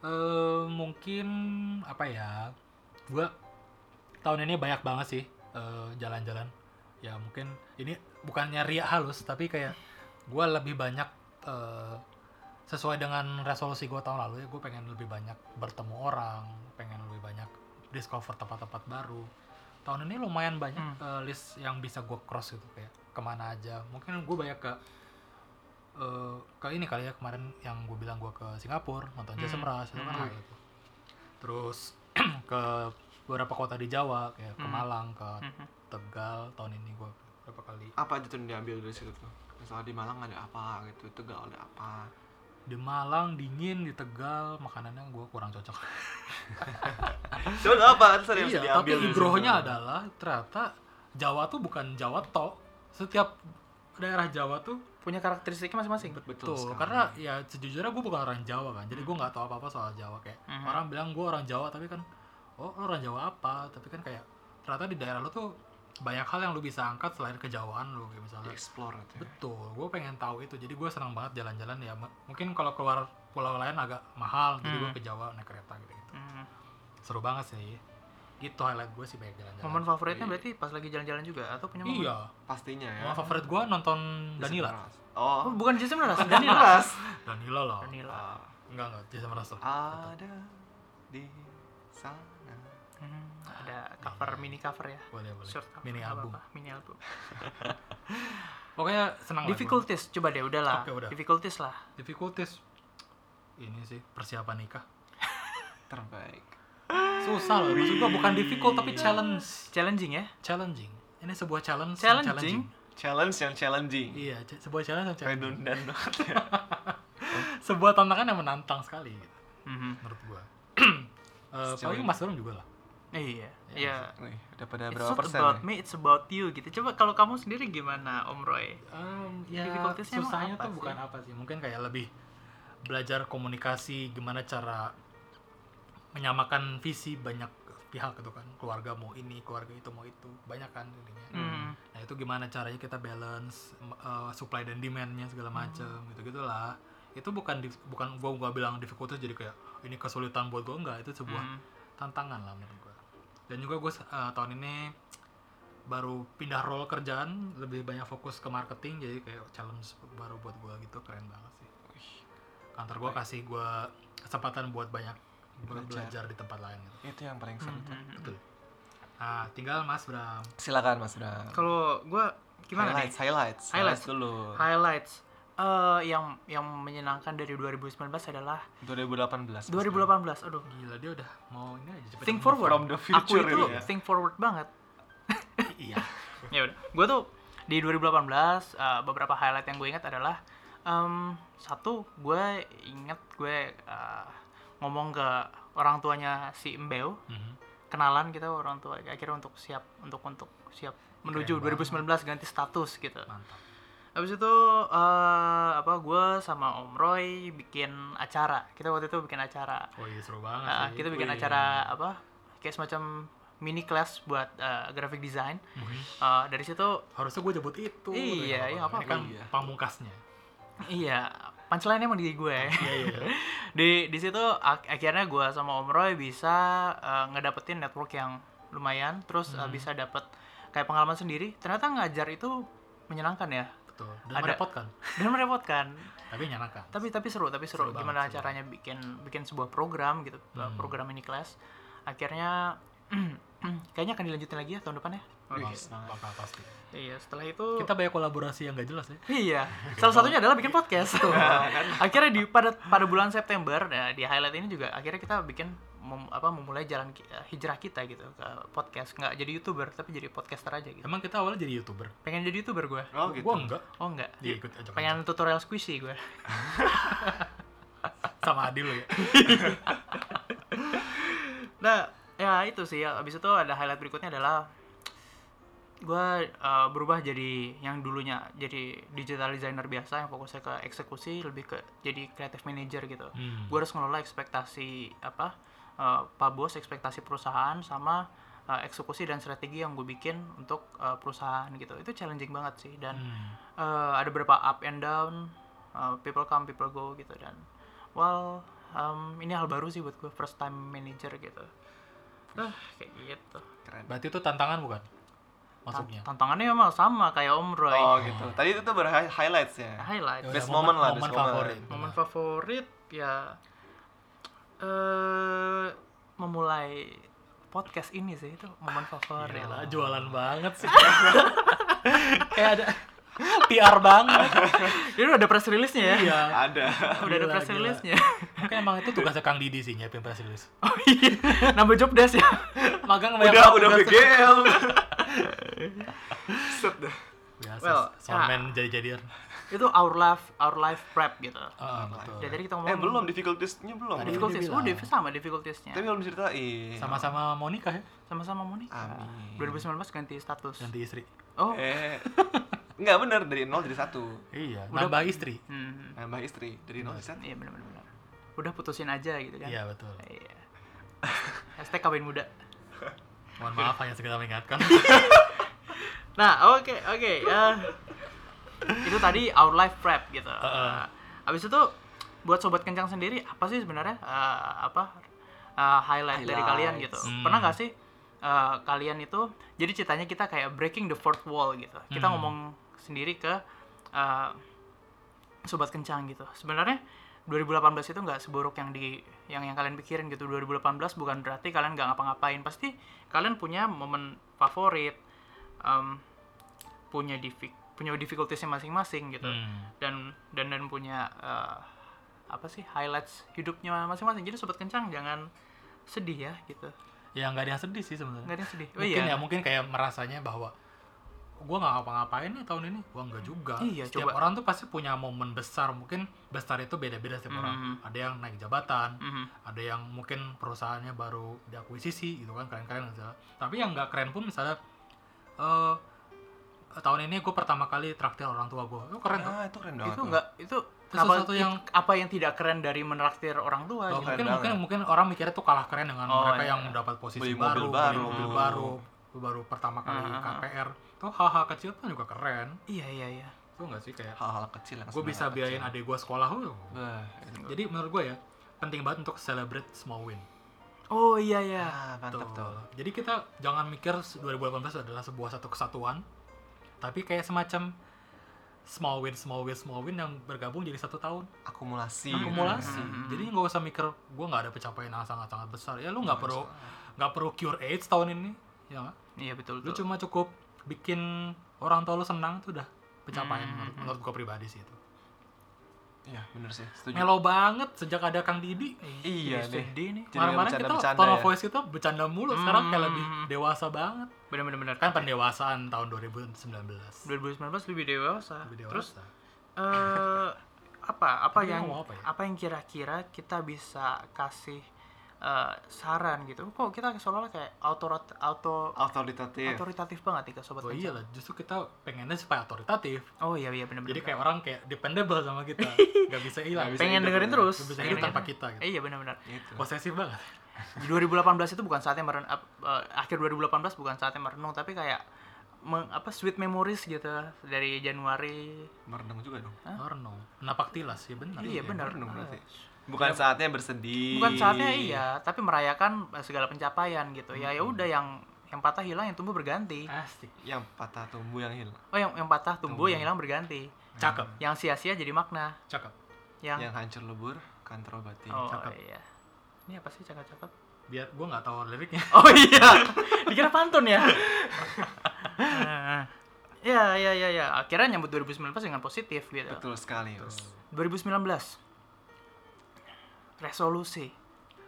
[SPEAKER 1] Eh, mungkin apa ya gua tahun ini banyak banget sih eh, jalan-jalan ya mungkin ini bukannya riak halus tapi kayak gua lebih banyak eh, sesuai dengan resolusi gua tahun lalu ya gue pengen lebih banyak bertemu orang pengen lebih banyak discover tempat-tempat baru tahun ini lumayan banyak
[SPEAKER 2] Hmm.
[SPEAKER 1] eh, list yang bisa gua cross gitu kayak kemana aja mungkin gue banyak ke eh, ke ini kali ya kemarin yang gue bilang gue ke Singapura nonton
[SPEAKER 2] Hmm.
[SPEAKER 1] Jason Mraz itu kan
[SPEAKER 2] Hmm.
[SPEAKER 1] highlight tuh. terus [clears throat] ke beberapa kota di Jawa kayak ke
[SPEAKER 2] Hmm.
[SPEAKER 1] Malang ke
[SPEAKER 2] Mhm.
[SPEAKER 1] Tegal tahun ini gue berapa kali
[SPEAKER 3] apa aja tuh yang diambil dari situ tuh? Misalnya di Malang ada apa gitu, Tegal ada apa.
[SPEAKER 1] di Malang dingin di Tegal makanannya gue kurang cocok
[SPEAKER 3] Coba nggak apa? Terus ada yang
[SPEAKER 1] iya
[SPEAKER 3] diambil
[SPEAKER 1] tapi
[SPEAKER 3] dari
[SPEAKER 1] ibrohnya
[SPEAKER 3] situ.
[SPEAKER 1] adalah ternyata Jawa tuh bukan Jawa tok setiap daerah Jawa tuh
[SPEAKER 2] punya karakteristiknya masing-masing
[SPEAKER 3] Betul
[SPEAKER 1] Betul,
[SPEAKER 3] sekali.
[SPEAKER 1] karena ya sejujurnya gue bukan orang Jawa kan, jadi gue nggak tahu apa-apa soal Jawa kayak
[SPEAKER 2] Mhm.
[SPEAKER 1] orang bilang gue orang Jawa tapi kan oh lu orang Jawa apa? Tapi kan kayak ternyata di daerah lu tuh banyak hal yang lu bisa angkat selain kejauhan lu kayak misalnya.
[SPEAKER 3] Di explore gitu. ya.
[SPEAKER 1] Betul, gue pengen tahu itu, jadi gue senang banget jalan-jalan ya. M- Mungkin kalau keluar pulau lain agak mahal, jadi gue
[SPEAKER 2] Hmm.
[SPEAKER 1] ke Jawa naik kereta gitu. -gitu.
[SPEAKER 2] Mhm.
[SPEAKER 1] Seru banget sih, gitu highlight gue sih banyak
[SPEAKER 2] momen
[SPEAKER 1] jalan-jalan.
[SPEAKER 2] favoritnya berarti pas lagi jalan-jalan juga atau punya momen
[SPEAKER 1] Iya,
[SPEAKER 3] Pastinya ya.
[SPEAKER 1] momen favorit gue nonton
[SPEAKER 3] Bisa
[SPEAKER 1] Danila.
[SPEAKER 3] keras. Oh,
[SPEAKER 2] oh bukan Jason Mraz Danila
[SPEAKER 3] Danila.
[SPEAKER 1] Danila lah,
[SPEAKER 2] Danila Ah.
[SPEAKER 3] Ah,
[SPEAKER 1] enggak enggak, Jason Mraz tuh.
[SPEAKER 3] ada di sana.
[SPEAKER 2] Mhm.
[SPEAKER 3] Hmm,
[SPEAKER 2] ada
[SPEAKER 3] iya,
[SPEAKER 2] cover mini cover ya
[SPEAKER 1] Boleh boleh,
[SPEAKER 2] short cover,
[SPEAKER 1] mini
[SPEAKER 2] nggak
[SPEAKER 1] album.
[SPEAKER 2] apa-apa, mini album
[SPEAKER 3] Oh,
[SPEAKER 1] Pokoknya senang lah gua.
[SPEAKER 2] difficulties coba deh udahlah
[SPEAKER 1] Oke, udah.
[SPEAKER 2] difficulties lah
[SPEAKER 1] difficulties ini sih persiapan nikah
[SPEAKER 3] Terbaik.
[SPEAKER 1] susah loh maksud gua bukan difficult tapi challenge
[SPEAKER 2] challenging ya
[SPEAKER 1] challenging ini sebuah challenge yang
[SPEAKER 2] Challenging?
[SPEAKER 3] Challenge yang challenging.
[SPEAKER 1] iya ce- sebuah challenge yang challenging
[SPEAKER 3] Redundant [laughs] banget ya.
[SPEAKER 1] sebuah tantangan yang menantang sekali gitu,
[SPEAKER 3] Mm-hmm.
[SPEAKER 2] Mhm.
[SPEAKER 1] menurut gua [clears throat] Eh
[SPEAKER 3] Sejauh
[SPEAKER 1] paling
[SPEAKER 3] ini.
[SPEAKER 1] mas Durung juga lah
[SPEAKER 2] iya iya
[SPEAKER 3] Wih, udah pada
[SPEAKER 2] It's
[SPEAKER 3] berapa
[SPEAKER 2] not
[SPEAKER 3] persen? ya?
[SPEAKER 2] about
[SPEAKER 3] nih?
[SPEAKER 2] me, it's about you gitu. Coba kalau kamu sendiri gimana, Om Roy?
[SPEAKER 1] Em, ya
[SPEAKER 2] Difficultiesnya emang
[SPEAKER 1] susahnya
[SPEAKER 2] apa
[SPEAKER 1] tuh
[SPEAKER 2] sih?
[SPEAKER 1] bukan apa sih mungkin kayak lebih belajar komunikasi gimana cara menyamakan visi banyak pihak gitu kan keluarga mau ini keluarga itu mau itu banyak kan jadinya
[SPEAKER 2] Hmm.
[SPEAKER 1] nah itu gimana caranya kita balance em, eh, supply dan demandnya segala
[SPEAKER 2] Hmm.
[SPEAKER 1] macem gitu gitulah itu bukan di- bukan gua gua bilang difficulties jadi kayak ini kesulitan buat gua enggak itu
[SPEAKER 3] Mm-hmm.
[SPEAKER 1] sebuah
[SPEAKER 2] Hmm.
[SPEAKER 1] tantangan lah menurut gua dan juga gua eh, tahun ini baru pindah role kerjaan lebih banyak fokus ke marketing jadi kayak challenge baru buat gua gitu keren banget sih
[SPEAKER 3] Wih,
[SPEAKER 1] kantor gua kasih gua kesempatan buat banyak bukan belajar
[SPEAKER 3] Belajar.
[SPEAKER 1] di tempat lain gitu.
[SPEAKER 3] itu yang paling seru tuh.
[SPEAKER 1] Betul. Nah, tinggal Mas Bram.
[SPEAKER 3] silakan mas Bram
[SPEAKER 2] Kalau gue gimana nih?
[SPEAKER 3] highlights, highlights
[SPEAKER 2] Highlights.
[SPEAKER 3] dulu
[SPEAKER 2] Highlights. Eh yang yang menyenangkan dari 2019 adalah
[SPEAKER 3] 2018 Mas Bram.
[SPEAKER 2] 2018. Aduh.
[SPEAKER 1] Gila dia udah mau ini aja cepet.
[SPEAKER 2] Think
[SPEAKER 1] move
[SPEAKER 2] forward.
[SPEAKER 3] from the
[SPEAKER 2] Aku
[SPEAKER 3] future
[SPEAKER 2] itu
[SPEAKER 3] ini ya.
[SPEAKER 2] think forward banget.
[SPEAKER 1] on. Iya.
[SPEAKER 2] ya udah gue tuh di 2018 eh, beberapa highlight yang gue ingat adalah em, satu gue ingat gue eh, ngomong ke orang tuanya si Mbeo
[SPEAKER 1] Mhm.
[SPEAKER 2] kenalan kita orang tua akhirnya untuk siap untuk untuk siap menuju 2019 ganti status gitu
[SPEAKER 1] Mantap.
[SPEAKER 2] habis itu eh, apa gue sama Om Roy bikin acara kita waktu itu bikin acara
[SPEAKER 1] Oh iya seru banget.
[SPEAKER 2] Nah,
[SPEAKER 1] sih.
[SPEAKER 2] kita bikin
[SPEAKER 1] Wih.
[SPEAKER 2] acara apa kayak semacam mini class buat eh, graphic design Eh, dari situ
[SPEAKER 1] Harusnya gue jebut itu.
[SPEAKER 2] Iya,
[SPEAKER 1] Tapi
[SPEAKER 2] iya,
[SPEAKER 1] nggak
[SPEAKER 2] nggak
[SPEAKER 1] apa-apa. Ini kan
[SPEAKER 3] apa-apa. Iya.
[SPEAKER 2] [laughs]
[SPEAKER 1] pamungkasnya.
[SPEAKER 2] Iya, punchline emang di gue.
[SPEAKER 1] Iya iya.
[SPEAKER 2] Di di situ ak- akhirnya gue sama Om Roy bisa eh, ngedapetin network yang lumayan, terus
[SPEAKER 1] Hmm.
[SPEAKER 2] eh, bisa dapet kayak pengalaman sendiri. Ternyata ngajar itu menyenangkan ya [laughs]
[SPEAKER 1] Betul. Dan
[SPEAKER 2] Ada-
[SPEAKER 1] merepotkan.
[SPEAKER 2] dan merepotkan.
[SPEAKER 1] kan? Tapi nyenangkan.
[SPEAKER 2] Tapi tapi seru, tapi
[SPEAKER 1] Seru
[SPEAKER 2] seru.
[SPEAKER 1] banget, Hmm.
[SPEAKER 2] Gimana
[SPEAKER 1] seru
[SPEAKER 2] caranya bikin bikin sebuah program gitu, eh, program ini kelas. Akhirnya [clears throat] kayaknya akan dilanjutin lagi ya tahun depan ya.
[SPEAKER 3] Wih,
[SPEAKER 1] Bak-
[SPEAKER 3] semangat.
[SPEAKER 1] Bakal pasti.
[SPEAKER 2] Iya, setelah itu
[SPEAKER 1] Kita banyak kolaborasi yang gak jelas ya.
[SPEAKER 2] Iya, salah satunya adalah bikin podcast. akhirnya di pada pada bulan September nah, di highlight ini juga akhirnya kita bikin mem- apa memulai jalan ki- eh, hijrah kita gitu ke podcast, nggak jadi youtuber tapi jadi podcaster aja gitu.
[SPEAKER 1] Emang kita awalnya jadi youtuber.
[SPEAKER 2] Pengen jadi youtuber gue?
[SPEAKER 3] oh gitu
[SPEAKER 1] Gue enggak.
[SPEAKER 2] Oh enggak.
[SPEAKER 1] Iya, ikut aja.
[SPEAKER 2] Pengen tutorial squishy gue.
[SPEAKER 1] sama Adil lo ya.
[SPEAKER 2] Nah, ya itu sih. Abis itu ada highlight berikutnya adalah gue eh, berubah jadi yang dulunya jadi digital designer biasa yang fokusnya ke eksekusi lebih ke jadi creative manager gitu.
[SPEAKER 1] Hmm.
[SPEAKER 2] gue harus ngelola ekspektasi apa eh, pak bos ekspektasi perusahaan sama eh, eksekusi dan strategi yang gue bikin untuk eh, perusahaan gitu itu challenging banget sih dan
[SPEAKER 1] Hmm.
[SPEAKER 2] eh, ada beberapa up and down eh, people come people go gitu dan well em, ini hal baru sih buat gue first time manager gitu Eh, kayak gitu
[SPEAKER 3] keren
[SPEAKER 1] Berarti itu tantangan bukan?
[SPEAKER 2] Tan-
[SPEAKER 1] Masuknya.
[SPEAKER 2] tantangannya memang sama kayak om Roy
[SPEAKER 3] oh gitu tadi itu tuh berhighlights ya
[SPEAKER 2] highlight
[SPEAKER 1] Ya udah,
[SPEAKER 3] Best moment lah, best moment.
[SPEAKER 1] favorit.
[SPEAKER 2] momen
[SPEAKER 1] Benar.
[SPEAKER 2] favorit ya eh memulai podcast ini sih itu momen favorit
[SPEAKER 1] Gila,
[SPEAKER 3] Iya.
[SPEAKER 1] jualan banget sih. [laughs] Kayak ada PR banget.
[SPEAKER 2] ini udah ada press release-nya ya
[SPEAKER 1] Iya.
[SPEAKER 3] ada
[SPEAKER 2] [laughs] udah ada
[SPEAKER 1] Gila,
[SPEAKER 2] press
[SPEAKER 1] gila.
[SPEAKER 2] release-nya [laughs]
[SPEAKER 1] Oke, emang itu tugasnya Kang Didi sih nyiapin press release.
[SPEAKER 2] oh iya nambah job desk ya
[SPEAKER 1] Magang banyak
[SPEAKER 3] udah
[SPEAKER 1] banget
[SPEAKER 3] udah
[SPEAKER 1] tugasnya.
[SPEAKER 3] BGL set dah
[SPEAKER 1] Biasa,
[SPEAKER 2] Well,
[SPEAKER 1] soundman jadi-jadian.
[SPEAKER 2] itu our life our life prep gitu
[SPEAKER 1] Ah, betul.
[SPEAKER 2] dari tadi kita
[SPEAKER 3] Oh. eh
[SPEAKER 2] ngomong
[SPEAKER 3] belum difficultiesnya belum
[SPEAKER 1] Tadi
[SPEAKER 2] difficulties
[SPEAKER 1] Dia bilang.
[SPEAKER 2] udah sama difficultiesnya
[SPEAKER 3] tapi belum diceritain
[SPEAKER 1] Sama-sama mau nikah ya,
[SPEAKER 2] sama-sama Monica
[SPEAKER 3] Amin.
[SPEAKER 2] 2019 ganti status
[SPEAKER 1] ganti istri.
[SPEAKER 2] oh
[SPEAKER 3] eh nggak bener dari nol jadi satu
[SPEAKER 1] Iya,
[SPEAKER 2] Udah-
[SPEAKER 1] nambah istri.
[SPEAKER 2] hmm,
[SPEAKER 3] nambah istri dari nol jadi satu
[SPEAKER 2] iya benar-benar udah putusin aja gitu kan
[SPEAKER 1] Iya, betul.
[SPEAKER 2] iya hashtag kawin muda
[SPEAKER 1] Mohon
[SPEAKER 2] Iya.
[SPEAKER 1] maaf hanya sekedar
[SPEAKER 2] [laughs]
[SPEAKER 1] mengingatkan.
[SPEAKER 2] Nah, oke, oke. eh, itu tadi our life prep gitu.
[SPEAKER 1] Heeh.
[SPEAKER 2] Eh, abis itu buat sobat kencang sendiri apa sih sebenarnya eh, apa eh, highlight dari kalian gitu?
[SPEAKER 1] Hmm.
[SPEAKER 2] Pernah nggak sih eh, kalian itu jadi ceritanya kita kayak breaking the fourth wall gitu. Kita
[SPEAKER 1] Hmm.
[SPEAKER 2] ngomong sendiri ke eh, sobat kencang gitu. Sebenarnya 2018 itu nggak seburuk yang di yang yang kalian pikirin gitu. 2018 bukan berarti kalian nggak ngapa-ngapain. Pasti kalian punya momen favorit, em, punya diffi- punya difficultiesnya masing-masing gitu.
[SPEAKER 1] Hmm.
[SPEAKER 2] Dan dan dan punya eh, apa sih highlights hidupnya masing-masing. Jadi sobat kencang jangan sedih ya gitu.
[SPEAKER 1] Ya nggak ada yang sedih sih sebenarnya.
[SPEAKER 2] Nggak ada yang sedih. Oh
[SPEAKER 1] mungkin
[SPEAKER 2] iya.
[SPEAKER 1] ya mungkin kayak merasanya bahwa gue nggak ngapa-ngapain nih tahun ini gue nggak juga
[SPEAKER 2] Iya,
[SPEAKER 1] setiap
[SPEAKER 2] coba.
[SPEAKER 1] orang tuh pasti punya momen besar mungkin besar itu beda-beda setiap orang
[SPEAKER 2] Mhm.
[SPEAKER 1] ada yang naik jabatan
[SPEAKER 2] Mhm.
[SPEAKER 1] ada yang mungkin perusahaannya baru diakuisisi gitu kan keren-keren misalnya tapi yang nggak keren pun misalnya eh tahun ini gue pertama kali traktir orang tua gue itu keren tuh
[SPEAKER 3] ah itu keren banget
[SPEAKER 2] Itu
[SPEAKER 3] tuh.
[SPEAKER 2] nggak itu
[SPEAKER 1] Terus
[SPEAKER 2] apa,
[SPEAKER 1] sesuatu yang-
[SPEAKER 2] apa yang tidak keren dari menraktir orang tua
[SPEAKER 1] Oh,
[SPEAKER 2] gitu.
[SPEAKER 1] mungkin
[SPEAKER 3] keren banget.
[SPEAKER 1] mungkin mungkin orang mikirnya tuh kalah keren dengan
[SPEAKER 2] Oh,
[SPEAKER 1] mereka
[SPEAKER 2] iya.
[SPEAKER 1] yang mendapat posisi
[SPEAKER 3] Beli
[SPEAKER 1] baru,
[SPEAKER 3] mobil
[SPEAKER 1] beli
[SPEAKER 3] baru.
[SPEAKER 1] mobil baru, baru pertama kali
[SPEAKER 2] Ah, ah, ah.
[SPEAKER 1] KPR. Tuh haha kecil pun juga keren.
[SPEAKER 2] Iya iya iya.
[SPEAKER 1] Tuh nggak sih kayak
[SPEAKER 3] hal-hal kecil yang
[SPEAKER 1] gue bisa biayain adik gue sekolah. wuh.
[SPEAKER 3] bah itu.
[SPEAKER 1] Jadi menurut gue ya penting banget untuk celebrate small win.
[SPEAKER 2] Oh iya iya.
[SPEAKER 3] ah mantap
[SPEAKER 1] Tuh.
[SPEAKER 3] tuh
[SPEAKER 1] Jadi kita jangan mikir 2018 adalah sebuah satu kesatuan, tapi kayak semacam small win small win small win yang bergabung jadi satu tahun
[SPEAKER 3] akumulasi
[SPEAKER 1] akumulasi gitu.
[SPEAKER 2] Hmm.
[SPEAKER 1] jadi nggak usah mikir gue nggak ada pencapaian yang sangat sangat besar ya lu nggak
[SPEAKER 3] Nggak
[SPEAKER 1] perlu nggak perlu cure AIDS tahun ini ya nggak?
[SPEAKER 2] Iya betul.
[SPEAKER 1] lu
[SPEAKER 2] betul.
[SPEAKER 1] cuma cukup bikin orang tua lu senang tuh udah pencapaian
[SPEAKER 2] Hmm.
[SPEAKER 1] menurut, menurut gue pribadi sih itu
[SPEAKER 3] iya bener sih setuju
[SPEAKER 1] melo banget sejak ada Kang Didi
[SPEAKER 3] iya
[SPEAKER 2] Jadi
[SPEAKER 3] deh
[SPEAKER 2] sedih nih.
[SPEAKER 3] Jadi
[SPEAKER 1] kemarin-kemarin
[SPEAKER 3] nggak
[SPEAKER 1] kita
[SPEAKER 3] bercanda-bercanda
[SPEAKER 1] tone of
[SPEAKER 3] ya.
[SPEAKER 1] voice kita bercanda mulu sekarang kayak
[SPEAKER 2] Hmm.
[SPEAKER 1] lebih dewasa banget
[SPEAKER 2] Bener-bener bener.
[SPEAKER 1] kan pendewasaan tahun 2019 lebih
[SPEAKER 2] 2019 lebih dewasa.
[SPEAKER 1] dewasa
[SPEAKER 2] Terus eh apa apa
[SPEAKER 1] Tadi
[SPEAKER 2] yang
[SPEAKER 1] ngomong apa
[SPEAKER 2] apa,
[SPEAKER 1] ya?
[SPEAKER 2] yang kira-kira kita bisa kasih eh, saran gitu kok kita seolah-olah kayak auto auto
[SPEAKER 3] otoritatif
[SPEAKER 2] otoritatif banget nih ke sobat
[SPEAKER 1] oh
[SPEAKER 2] Kencan.
[SPEAKER 1] iya lah justru kita pengennya supaya otoritatif
[SPEAKER 2] oh iya iya benar
[SPEAKER 1] jadi
[SPEAKER 2] benar
[SPEAKER 1] kayak orang kayak dependable sama kita
[SPEAKER 2] [laughs]
[SPEAKER 1] nggak bisa hilang
[SPEAKER 3] Nggak bisa
[SPEAKER 2] pengen
[SPEAKER 3] hidup,
[SPEAKER 2] dengerin
[SPEAKER 3] bener.
[SPEAKER 2] terus
[SPEAKER 1] Nggak bisa
[SPEAKER 2] pengen
[SPEAKER 1] hidup
[SPEAKER 2] dengerin.
[SPEAKER 1] tanpa kita gitu.
[SPEAKER 2] Eh, iya benar benar
[SPEAKER 3] gitu
[SPEAKER 1] posesif banget
[SPEAKER 2] 2018 itu bukan saatnya merenung akhir 2018 bukan saatnya merenung tapi kayak meng- apa sweet memories gitu dari Januari
[SPEAKER 3] merenung juga dong
[SPEAKER 1] Orno napak tilas ya benar
[SPEAKER 2] iya benar
[SPEAKER 3] merenung berarti bukan saatnya bersedih
[SPEAKER 2] bukan saatnya iya tapi merayakan eh, segala pencapaian gitu ya ya udah yang yang patah hilang yang tumbuh berganti
[SPEAKER 1] asik
[SPEAKER 3] yang patah tumbuh yang hilang
[SPEAKER 2] oh yang yang patah tumbuh yang hilang berganti
[SPEAKER 1] cakep
[SPEAKER 2] yang sia-sia jadi makna
[SPEAKER 1] cakep
[SPEAKER 2] yang,
[SPEAKER 3] yang hancur lebur kan terobati
[SPEAKER 2] oh
[SPEAKER 1] cakep.
[SPEAKER 2] iya ini apa sih cakep-cakep [laughs]
[SPEAKER 1] biar gua nggak tahu liriknya [laughs]
[SPEAKER 2] oh iya dikira pantun ya Eh, ya ya ya ya akhirnya nyambut 2019 dengan positif gitu
[SPEAKER 3] betul sekali Om.
[SPEAKER 2] 2019 resolusi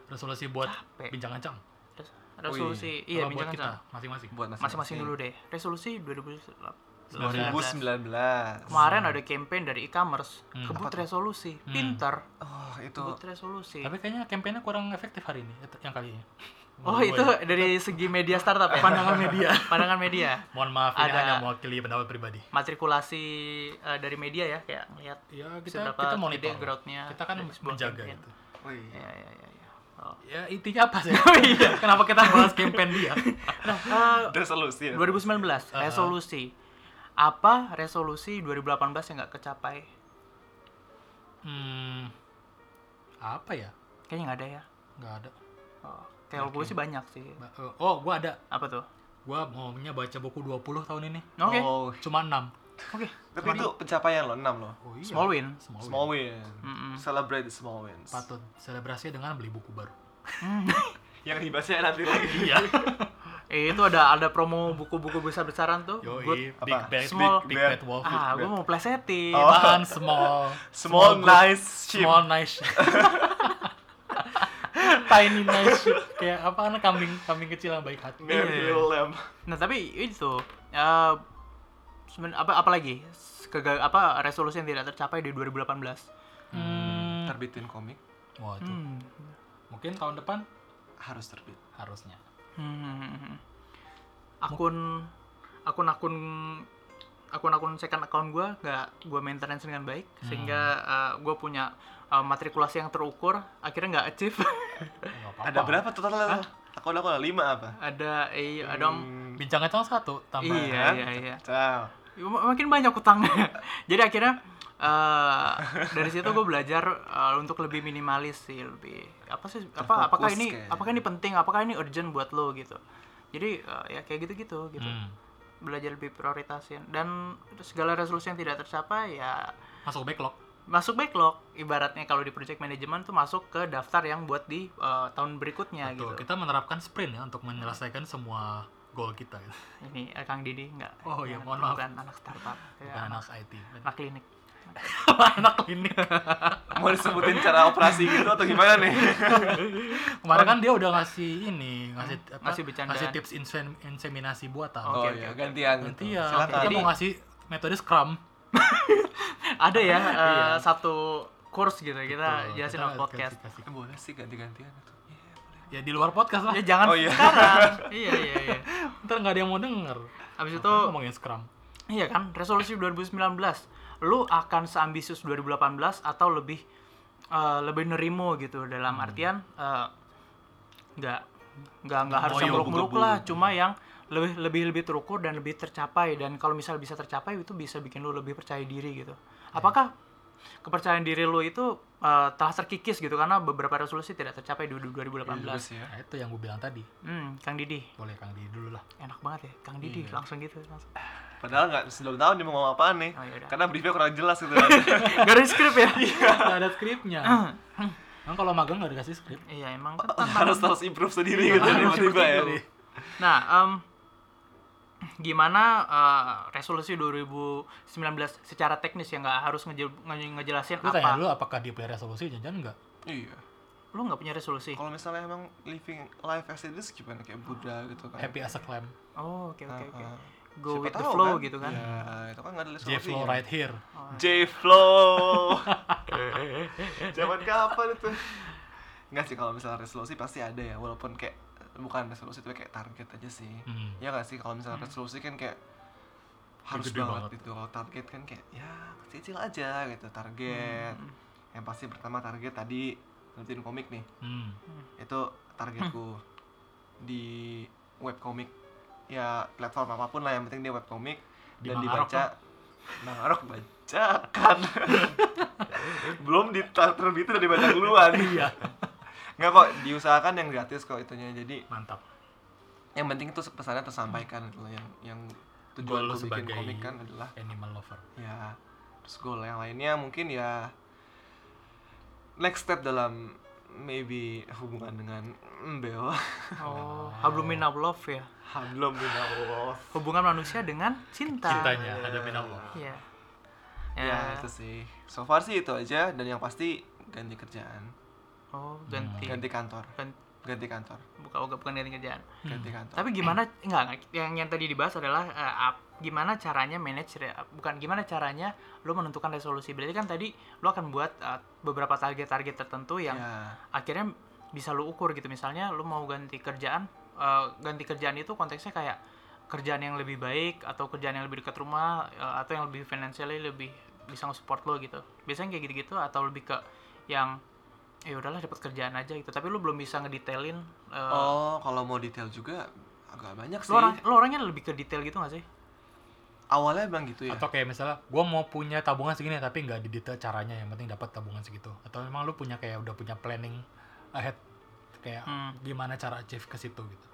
[SPEAKER 1] resolusi buat
[SPEAKER 2] Capek.
[SPEAKER 1] bincang ancang
[SPEAKER 2] Res- resolusi iya
[SPEAKER 1] buat
[SPEAKER 2] bincang
[SPEAKER 1] kita
[SPEAKER 2] kita
[SPEAKER 1] masing-masing
[SPEAKER 3] buat
[SPEAKER 2] masing-masing dulu deh resolusi 2019
[SPEAKER 3] 2019
[SPEAKER 2] kemarin ada campaign dari e-commerce
[SPEAKER 1] Hmm.
[SPEAKER 2] kebut
[SPEAKER 3] Apa tuh?
[SPEAKER 2] resolusi pinter
[SPEAKER 3] oh itu
[SPEAKER 2] kebut resolusi
[SPEAKER 1] tapi kayaknya kampanye kurang efektif hari ini et- yang kali ini
[SPEAKER 2] oh
[SPEAKER 1] Menurut
[SPEAKER 2] itu
[SPEAKER 1] gua ya.
[SPEAKER 2] dari segi media startup ya
[SPEAKER 1] pandangan media
[SPEAKER 2] [laughs] pandangan media
[SPEAKER 1] mohon maaf ini
[SPEAKER 2] Ada-
[SPEAKER 1] hanya mewakili pendapat pribadi
[SPEAKER 2] matrikulasi eh, dari media ya kayak lihat
[SPEAKER 1] ya kita
[SPEAKER 2] Seberapa
[SPEAKER 1] kita
[SPEAKER 2] gede
[SPEAKER 1] monitor
[SPEAKER 2] growth-nya
[SPEAKER 1] kita kan
[SPEAKER 2] dari sebuah
[SPEAKER 1] menjaga
[SPEAKER 2] campaign.
[SPEAKER 1] gitu
[SPEAKER 3] oh, iya.
[SPEAKER 2] ya ya ya, ya. Oh.
[SPEAKER 1] ya intinya apa
[SPEAKER 2] [laughs]
[SPEAKER 1] sih
[SPEAKER 2] iya.
[SPEAKER 1] kenapa kita bahas campaign dia
[SPEAKER 2] Eh,
[SPEAKER 3] resolusi ya
[SPEAKER 2] 2019
[SPEAKER 1] Uh-huh.
[SPEAKER 2] resolusi apa resolusi 2018 yang nggak kecapai
[SPEAKER 1] hmm, apa ya
[SPEAKER 2] kayaknya nggak ada ya
[SPEAKER 1] nggak ada
[SPEAKER 2] oh. kayak gue sih banyak sih
[SPEAKER 1] Ba- oh gua ada
[SPEAKER 2] apa tuh
[SPEAKER 1] gua maunya baca buku 20 tahun ini
[SPEAKER 2] oke
[SPEAKER 3] oh
[SPEAKER 1] cuma 6
[SPEAKER 2] oke
[SPEAKER 3] tapi itu pencapaian lo 6 lo
[SPEAKER 1] oh,
[SPEAKER 2] small win [laughs]
[SPEAKER 1] small,
[SPEAKER 3] small
[SPEAKER 1] win.
[SPEAKER 3] win
[SPEAKER 2] Mm-mm.
[SPEAKER 3] celebrate the small wins
[SPEAKER 1] patut selebrasi dengan beli buku
[SPEAKER 2] [laughs]
[SPEAKER 1] baru
[SPEAKER 3] yang dibahasnya nanti lagi
[SPEAKER 1] iya
[SPEAKER 2] eh, itu ada ada promo buku-buku besar besaran tuh
[SPEAKER 1] Yoi,
[SPEAKER 2] Good.
[SPEAKER 1] big
[SPEAKER 3] Apa?
[SPEAKER 1] bad,
[SPEAKER 2] Small.
[SPEAKER 1] big, big bad
[SPEAKER 3] Bad.
[SPEAKER 1] wolf.
[SPEAKER 2] ah gue mau plesetin
[SPEAKER 3] Oh.
[SPEAKER 1] Apaan small,
[SPEAKER 3] small
[SPEAKER 1] good,
[SPEAKER 3] nice ship
[SPEAKER 1] small nice, [laughs] tiny nice, ship. kayak apaan kambing kambing kecil yang baik hati.
[SPEAKER 3] Mary Lamb
[SPEAKER 2] Nah tapi itu eh seben- apa apalagi Kega- apa resolusi yang tidak tercapai di 2018.
[SPEAKER 1] Hmm.
[SPEAKER 3] terbitin komik
[SPEAKER 1] Wah, itu.
[SPEAKER 2] Hmm.
[SPEAKER 1] Mungkin tahun depan
[SPEAKER 3] harus terbit
[SPEAKER 1] harusnya.
[SPEAKER 2] Hmm. Akun akun-akun akun-akun second account gue nggak gue maintenance dengan baik sehingga gue punya eh, matrikulasi yang terukur akhirnya nggak achieve [laughs]
[SPEAKER 1] Enggak apa-apa.
[SPEAKER 3] ada berapa total aku aku lima apa
[SPEAKER 2] ada eh, ada om-
[SPEAKER 1] Bincang kacang satu tambah.
[SPEAKER 2] iya
[SPEAKER 3] Kan?
[SPEAKER 2] iya iya
[SPEAKER 3] Ciao.
[SPEAKER 2] Mak- makin banyak utangnya [laughs] jadi akhirnya eh, dari situ gue belajar eh, untuk lebih minimalis sih lebih apa sih apa apakah
[SPEAKER 3] Terfokus
[SPEAKER 2] ini
[SPEAKER 3] kayaknya.
[SPEAKER 2] apakah ini penting apakah ini urgent buat lo gitu jadi eh, ya kayak gitu gitu gitu
[SPEAKER 1] Hmm.
[SPEAKER 2] belajar lebih prioritasin dan segala resolusi yang tidak tercapai ya
[SPEAKER 1] Masuk backlog.
[SPEAKER 2] masuk backlog ibaratnya kalau di project management tuh masuk ke daftar yang buat di eh, tahun berikutnya
[SPEAKER 1] Tuh,
[SPEAKER 2] gitu
[SPEAKER 1] kita menerapkan sprint ya untuk menyelesaikan semua goal kita. Gitu.
[SPEAKER 2] ini eh, Kang Didi nggak
[SPEAKER 1] Oh, iya,
[SPEAKER 2] jangan,
[SPEAKER 1] mohon maaf.
[SPEAKER 2] bukan anak startup ya,
[SPEAKER 1] Bukan
[SPEAKER 2] anak,
[SPEAKER 1] anak IT.
[SPEAKER 2] anak klinik
[SPEAKER 1] [laughs] anak klinik.
[SPEAKER 3] mau disebutin cara operasi gitu atau gimana
[SPEAKER 2] [laughs]
[SPEAKER 3] nih
[SPEAKER 1] Kemarin kan dia udah ngasih ini, Hmm. ngasih apa,
[SPEAKER 2] Ngasih bercandaan.
[SPEAKER 1] ngasih tips insem- inseminasi buatan.
[SPEAKER 2] Oke,
[SPEAKER 3] oh
[SPEAKER 2] oke,
[SPEAKER 3] iya
[SPEAKER 2] oke.
[SPEAKER 3] gantian gitu.
[SPEAKER 1] Nanti ya,
[SPEAKER 3] silakan
[SPEAKER 1] kita
[SPEAKER 2] Jadi-
[SPEAKER 1] mau ngasih metode Scrum.
[SPEAKER 2] ada ya eh, satu course gitu kita
[SPEAKER 1] Tuh,
[SPEAKER 2] jelasin
[SPEAKER 1] kita
[SPEAKER 2] sama podcast
[SPEAKER 1] kasih- kasih.
[SPEAKER 3] Eh, boleh sih ganti-gantian itu Iya, boleh.
[SPEAKER 1] Ya di luar podcast [laughs] lah.
[SPEAKER 2] ya jangan
[SPEAKER 3] Oh, iya.
[SPEAKER 2] sekarang iya iya iya
[SPEAKER 1] Ntar nggak ada yang mau denger.
[SPEAKER 2] abis itu
[SPEAKER 1] Ngapain ngomongin Scrum.
[SPEAKER 2] iya kan resolusi 2019 lu akan seambisius 2018 atau lebih eh, lebih nerimo gitu dalam artian eh, nggak nggak nggak harus yang
[SPEAKER 1] Ngoyo,
[SPEAKER 2] muluk-muluk
[SPEAKER 3] buka-buka.
[SPEAKER 2] lah cuma yang lebih lebih lebih terukur dan lebih tercapai dan kalau misal bisa tercapai itu bisa bikin lu lebih percaya diri gitu apakah kepercayaan diri lu itu eh, telah terkikis gitu karena beberapa resolusi tidak tercapai di 2018.
[SPEAKER 3] Bagus ya.
[SPEAKER 1] Nah, itu yang gue bilang tadi.
[SPEAKER 2] Hmm, Kang Didi.
[SPEAKER 1] Boleh Kang Didi dulu lah.
[SPEAKER 2] Enak banget ya, Kang Didi
[SPEAKER 3] Iya.
[SPEAKER 2] langsung gitu. Langsung. [laughs]
[SPEAKER 3] Padahal nggak sebelum tahun dia mau ngomong apaan nih.
[SPEAKER 2] Oh, yaudah.
[SPEAKER 3] Karena briefnya kurang jelas gitu.
[SPEAKER 2] [laughs]
[SPEAKER 3] [laughs]
[SPEAKER 2] Gak ada skrip ya?
[SPEAKER 1] Gak ada skripnya. Emang kalau magang gak dikasih skrip?
[SPEAKER 2] Iya, emang kan
[SPEAKER 3] harus
[SPEAKER 2] tantangan.
[SPEAKER 3] harus improve sendiri
[SPEAKER 2] Iya.
[SPEAKER 3] gitu tiba-tiba ya.
[SPEAKER 2] Nah, em, gimana eh, resolusi 2019 secara teknis ya nggak harus ngejel- nge- ngejelasin
[SPEAKER 1] Gue tanya
[SPEAKER 2] apa?
[SPEAKER 1] dulu apakah dia punya resolusi, jangan enggak?
[SPEAKER 3] Iya.
[SPEAKER 2] Lu nggak punya resolusi?
[SPEAKER 3] Kalau misalnya emang living life as it is gimana kayak Buddha gitu kan.
[SPEAKER 1] Happy as a clam.
[SPEAKER 2] Oh, oke oke oke.
[SPEAKER 3] Ah, ah.
[SPEAKER 2] Go
[SPEAKER 3] Siapa
[SPEAKER 2] with the
[SPEAKER 3] tahu
[SPEAKER 2] flow gitu kan.
[SPEAKER 3] Iya, itu kan nggak ada
[SPEAKER 1] J Flow right here.
[SPEAKER 3] J Flow. [laughs] Zaman kapan itu? Enggak sih kalau misalnya resolusi pasti ada ya, walaupun kayak bukan resolusi tapi kayak target aja sih.
[SPEAKER 1] Hmm.
[SPEAKER 3] Ya nggak sih kalau misalnya resolusi kan kayak harus
[SPEAKER 1] Gede
[SPEAKER 3] banget,
[SPEAKER 1] banget.
[SPEAKER 3] gitu. Kalau target kan kayak ya kecil aja gitu target.
[SPEAKER 2] Hmm.
[SPEAKER 1] Hmm.
[SPEAKER 3] Yang pasti pertama target tadi ngertiin komik nih.
[SPEAKER 1] Hmm.
[SPEAKER 3] Itu targetku di webcomic ya platform apapun lah yang penting dia webcomic
[SPEAKER 1] Di
[SPEAKER 3] dan
[SPEAKER 1] Mangarok
[SPEAKER 3] dibaca Bang Arok bacakan [laughs] belum diterbitin udah dibaca duluan
[SPEAKER 1] [laughs] Iya.
[SPEAKER 3] nggak kok diusahakan yang gratis kok itunya jadi
[SPEAKER 1] Mantap.
[SPEAKER 3] yang penting itu pesannya tersampaikan gitu loh. yang yang tujuan
[SPEAKER 1] Goal lu
[SPEAKER 3] gue bikin
[SPEAKER 1] sebagai-
[SPEAKER 3] komik kan adalah
[SPEAKER 1] Animal lover.
[SPEAKER 3] ya terus goal yang lainnya mungkin ya next step dalam maybe hubungan dengan Bel
[SPEAKER 2] Oh, hablumin of love ya.
[SPEAKER 3] belum minta Allah
[SPEAKER 2] Hubungan manusia dengan cinta.
[SPEAKER 1] Cintanya ada minal love.
[SPEAKER 2] Iya. Ya.
[SPEAKER 3] ya itu sih so far sih itu aja dan yang pasti ganti kerjaan
[SPEAKER 2] Oh, ganti.
[SPEAKER 1] Hmm.
[SPEAKER 3] ganti kantor
[SPEAKER 2] Ganti-
[SPEAKER 3] ganti kantor
[SPEAKER 2] buka oh, bukan ganti kerjaan.
[SPEAKER 3] ganti kantor
[SPEAKER 2] Tapi gimana enggak, enggak, yang yang tadi dibahas adalah eh, ap- gimana caranya manage re- bukan gimana caranya lu menentukan resolusi. Berarti kan tadi lu akan buat eh, beberapa target-target tertentu yang
[SPEAKER 3] ya
[SPEAKER 2] akhirnya bisa lu ukur gitu misalnya lu mau ganti kerjaan eh, ganti kerjaan itu konteksnya kayak kerjaan yang lebih baik atau kerjaan yang lebih dekat rumah eh, atau yang lebih financially lebih bisa nge-support lo gitu biasanya kayak gitu-gitu atau lebih ke yang ya udahlah dapat kerjaan aja gitu tapi lu belum bisa ngedetailin eh,
[SPEAKER 3] oh kalau mau detail juga agak banyak sih
[SPEAKER 2] lu, orang, lu orangnya lebih ke detail gitu gak sih?
[SPEAKER 3] awalnya emang gitu ya
[SPEAKER 1] Atau kayak misalnya, gue mau punya tabungan segini tapi nggak didetail caranya, yang penting dapat tabungan segitu. Atau memang lu punya kayak udah punya planning ahead kayak
[SPEAKER 2] Hmm.
[SPEAKER 1] gimana cara achieve ke situ gitu.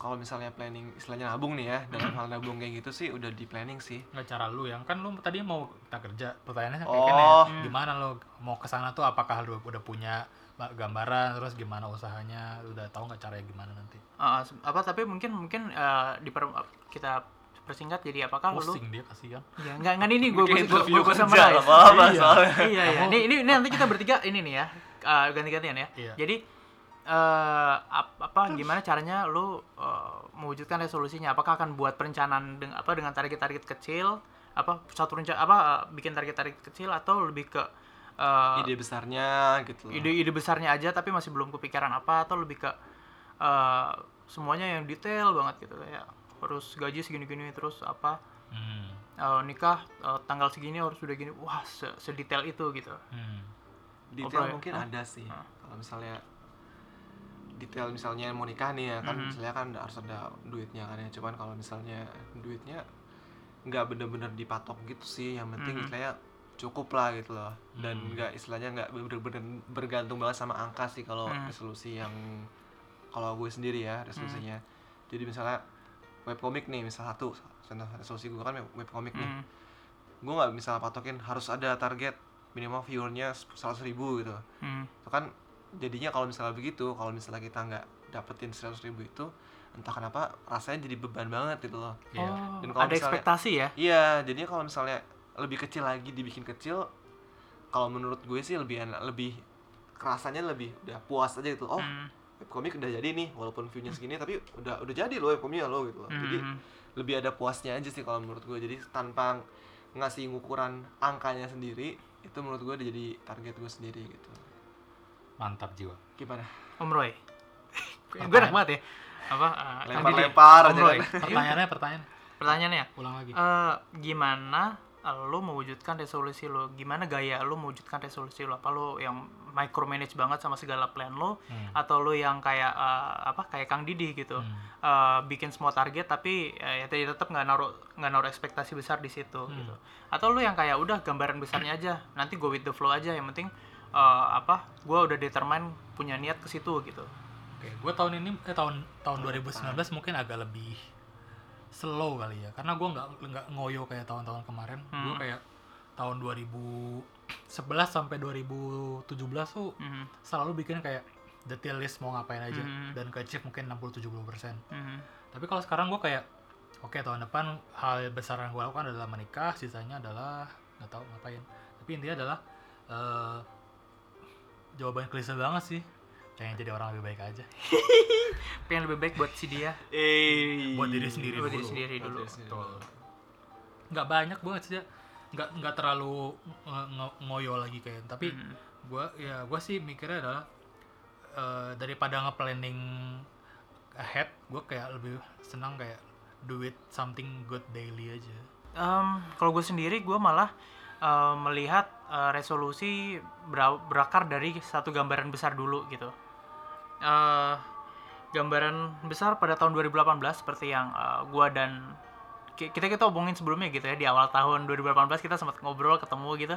[SPEAKER 3] kalau misalnya planning istilahnya nabung nih ya
[SPEAKER 2] [clears throat]
[SPEAKER 3] dalam hal nabung kayak gitu sih udah di planning sih
[SPEAKER 2] Eh.
[SPEAKER 1] nggak cara lu yang kan lu tadi mau kita kerja pertanyaannya kayak
[SPEAKER 3] Oh.
[SPEAKER 1] gini ya, gimana lo mau ke sana tuh apakah lu udah punya ba- gambaran terus gimana usahanya Lu udah tahu nggak caranya gimana nanti
[SPEAKER 2] Eh, se- apa tapi mungkin mungkin eh, diper- kita persingkat jadi apakah lu
[SPEAKER 1] pusing dia kasihan
[SPEAKER 2] Ya, enggak enggak ini gue gue gue
[SPEAKER 3] Mungkin interview
[SPEAKER 2] gue
[SPEAKER 3] kerja,
[SPEAKER 2] summarize.
[SPEAKER 3] nggak apa-apa,
[SPEAKER 2] Iya.
[SPEAKER 3] soalnya.
[SPEAKER 2] Iya, iya. Ini, ini ini nanti kita bertiga ini nih ya. eh, ganti-gantian ya.
[SPEAKER 1] Iya.
[SPEAKER 2] Jadi eh ap- apa gimana caranya lu eh, mewujudkan resolusinya? Apakah akan buat perencanaan dengan apa dengan target-target kecil? Apa satu rencana apa eh, bikin target-target kecil atau lebih ke eh,
[SPEAKER 3] ide besarnya gitu loh.
[SPEAKER 2] ide-ide besarnya aja tapi masih belum kepikiran apa atau lebih ke eh, semuanya yang detail banget gitu kayak terus gaji segini-gini terus apa
[SPEAKER 1] hmm.
[SPEAKER 2] eh, nikah eh, tanggal segini harus sudah gini wah se- sedetail itu gitu
[SPEAKER 1] Hmm.
[SPEAKER 2] Oke.
[SPEAKER 3] detail mungkin
[SPEAKER 2] Hah?
[SPEAKER 3] ada sih
[SPEAKER 2] Hah.
[SPEAKER 3] kalau misalnya detail misalnya mau nikah nih ya kan
[SPEAKER 2] Hmm.
[SPEAKER 3] misalnya kan harus ada duitnya kan ya cuman kalau misalnya duitnya nggak bener-bener dipatok gitu sih yang penting
[SPEAKER 2] Mhm.
[SPEAKER 3] istilahnya cukup lah gitu loh dan
[SPEAKER 1] Hmm.
[SPEAKER 3] nggak istilahnya nggak bener-bener bergantung banget sama angka sih kalau
[SPEAKER 2] Hmm.
[SPEAKER 3] resolusi yang kalau gue sendiri ya resolusinya
[SPEAKER 2] Hmm.
[SPEAKER 3] jadi misalnya webcomic nih misal satu contoh resolusi gue kan webcomic nih
[SPEAKER 2] Hmm.
[SPEAKER 3] gue nggak bisa patokin harus ada target minimal viewernya seratus ribu gitu
[SPEAKER 2] Hmm.
[SPEAKER 3] itu kan jadinya kalau misalnya begitu kalau misalnya kita nggak dapetin seratus ribu itu entah kenapa rasanya jadi beban banget gitu loh
[SPEAKER 1] Iya.
[SPEAKER 2] Oh,
[SPEAKER 3] Dan
[SPEAKER 2] ada
[SPEAKER 3] kalau misalnya-
[SPEAKER 2] ekspektasi ya
[SPEAKER 3] iya jadinya kalau misalnya lebih kecil lagi dibikin kecil kalau menurut gue sih lebih enak lebih rasanya lebih udah puas aja gitu oh
[SPEAKER 2] Hmm.
[SPEAKER 3] webcomic udah jadi nih walaupun viewnya segini tapi udah udah jadi loh webcomicnya lo gitu loh jadi
[SPEAKER 2] Hmm.
[SPEAKER 3] lebih ada puasnya aja sih kalau menurut gue jadi tanpa ngasih ukuran angkanya sendiri itu menurut gue udah jadi target gue sendiri gitu
[SPEAKER 1] mantap
[SPEAKER 2] [laughs]
[SPEAKER 1] jiwa
[SPEAKER 3] gimana
[SPEAKER 2] hmm. Om Roy [laughs] gue enak banget ya apa eh, Kang Didi.
[SPEAKER 3] lempar-lempar
[SPEAKER 2] Om
[SPEAKER 3] aja
[SPEAKER 2] Roy ya?
[SPEAKER 3] kan.
[SPEAKER 1] pertanyaannya pertanyaan
[SPEAKER 2] Ah. pertanyaannya
[SPEAKER 1] ulang lagi
[SPEAKER 2] eh, gimana eh, lo mewujudkan resolusi lo gimana gaya lo mewujudkan resolusi lo apa lo yang micromanage banget sama segala plan lo
[SPEAKER 1] Hmm.
[SPEAKER 2] atau lo yang kayak eh, apa kayak Kang Didi gitu Eh, bikin semua target tapi eh, ya tadi tetap nggak naruh nggak naruh ekspektasi besar di situ
[SPEAKER 1] Hmm.
[SPEAKER 2] gitu atau lo yang kayak udah gambaran besarnya aja nanti go with the flow aja yang penting eh, apa gue udah determine punya niat ke situ gitu
[SPEAKER 1] Oke, gue tahun ini eh tahun tahun 2019 mungkin agak lebih slow kali ya, karena gue nggak nggak ngoyo kayak tahun-tahun kemarin. Gue
[SPEAKER 2] Hmm.
[SPEAKER 1] kayak tahun 2011 sampai 2017 tuh
[SPEAKER 2] Mhm,
[SPEAKER 1] selalu bikin kayak detail list mau ngapain aja
[SPEAKER 2] Hmm.
[SPEAKER 1] dan ke achieve mungkin 60-70%.
[SPEAKER 2] mhm.
[SPEAKER 1] Tapi kalau sekarang gue kayak oke tahun depan hal besar yang gue lakukan adalah menikah, sisanya adalah nggak tahu ngapain. Tapi intinya adalah eh, jawaban klise banget sih. Pengen jadi orang lebih baik aja.
[SPEAKER 2] tapi yang lebih baik buat si dia
[SPEAKER 3] Eh.
[SPEAKER 1] Buat diri sendiri
[SPEAKER 2] buat diri
[SPEAKER 1] dulu.
[SPEAKER 2] sendiri
[SPEAKER 3] Buat
[SPEAKER 2] dulu
[SPEAKER 3] diri sendiri
[SPEAKER 1] Betul.
[SPEAKER 3] dulu.
[SPEAKER 1] Nggak banyak banget sih ya. Nggak nggak terlalu nge- nge- ngoyo lagi kayak. Tapi
[SPEAKER 2] Mhm.
[SPEAKER 1] gue ya gue sih mikirnya adalah eh, daripada nge-planning ahead, gue kayak lebih senang kayak do it something good daily aja.
[SPEAKER 2] Em, kalau gue sendiri gue malah eh, melihat eh, resolusi bera- berakar dari satu gambaran besar dulu gitu Eh, gambaran besar pada tahun 2018 seperti yang eh, gue dan ki- kita kita obongin sebelumnya gitu ya di awal tahun 2018 kita sempat ngobrol ketemu gitu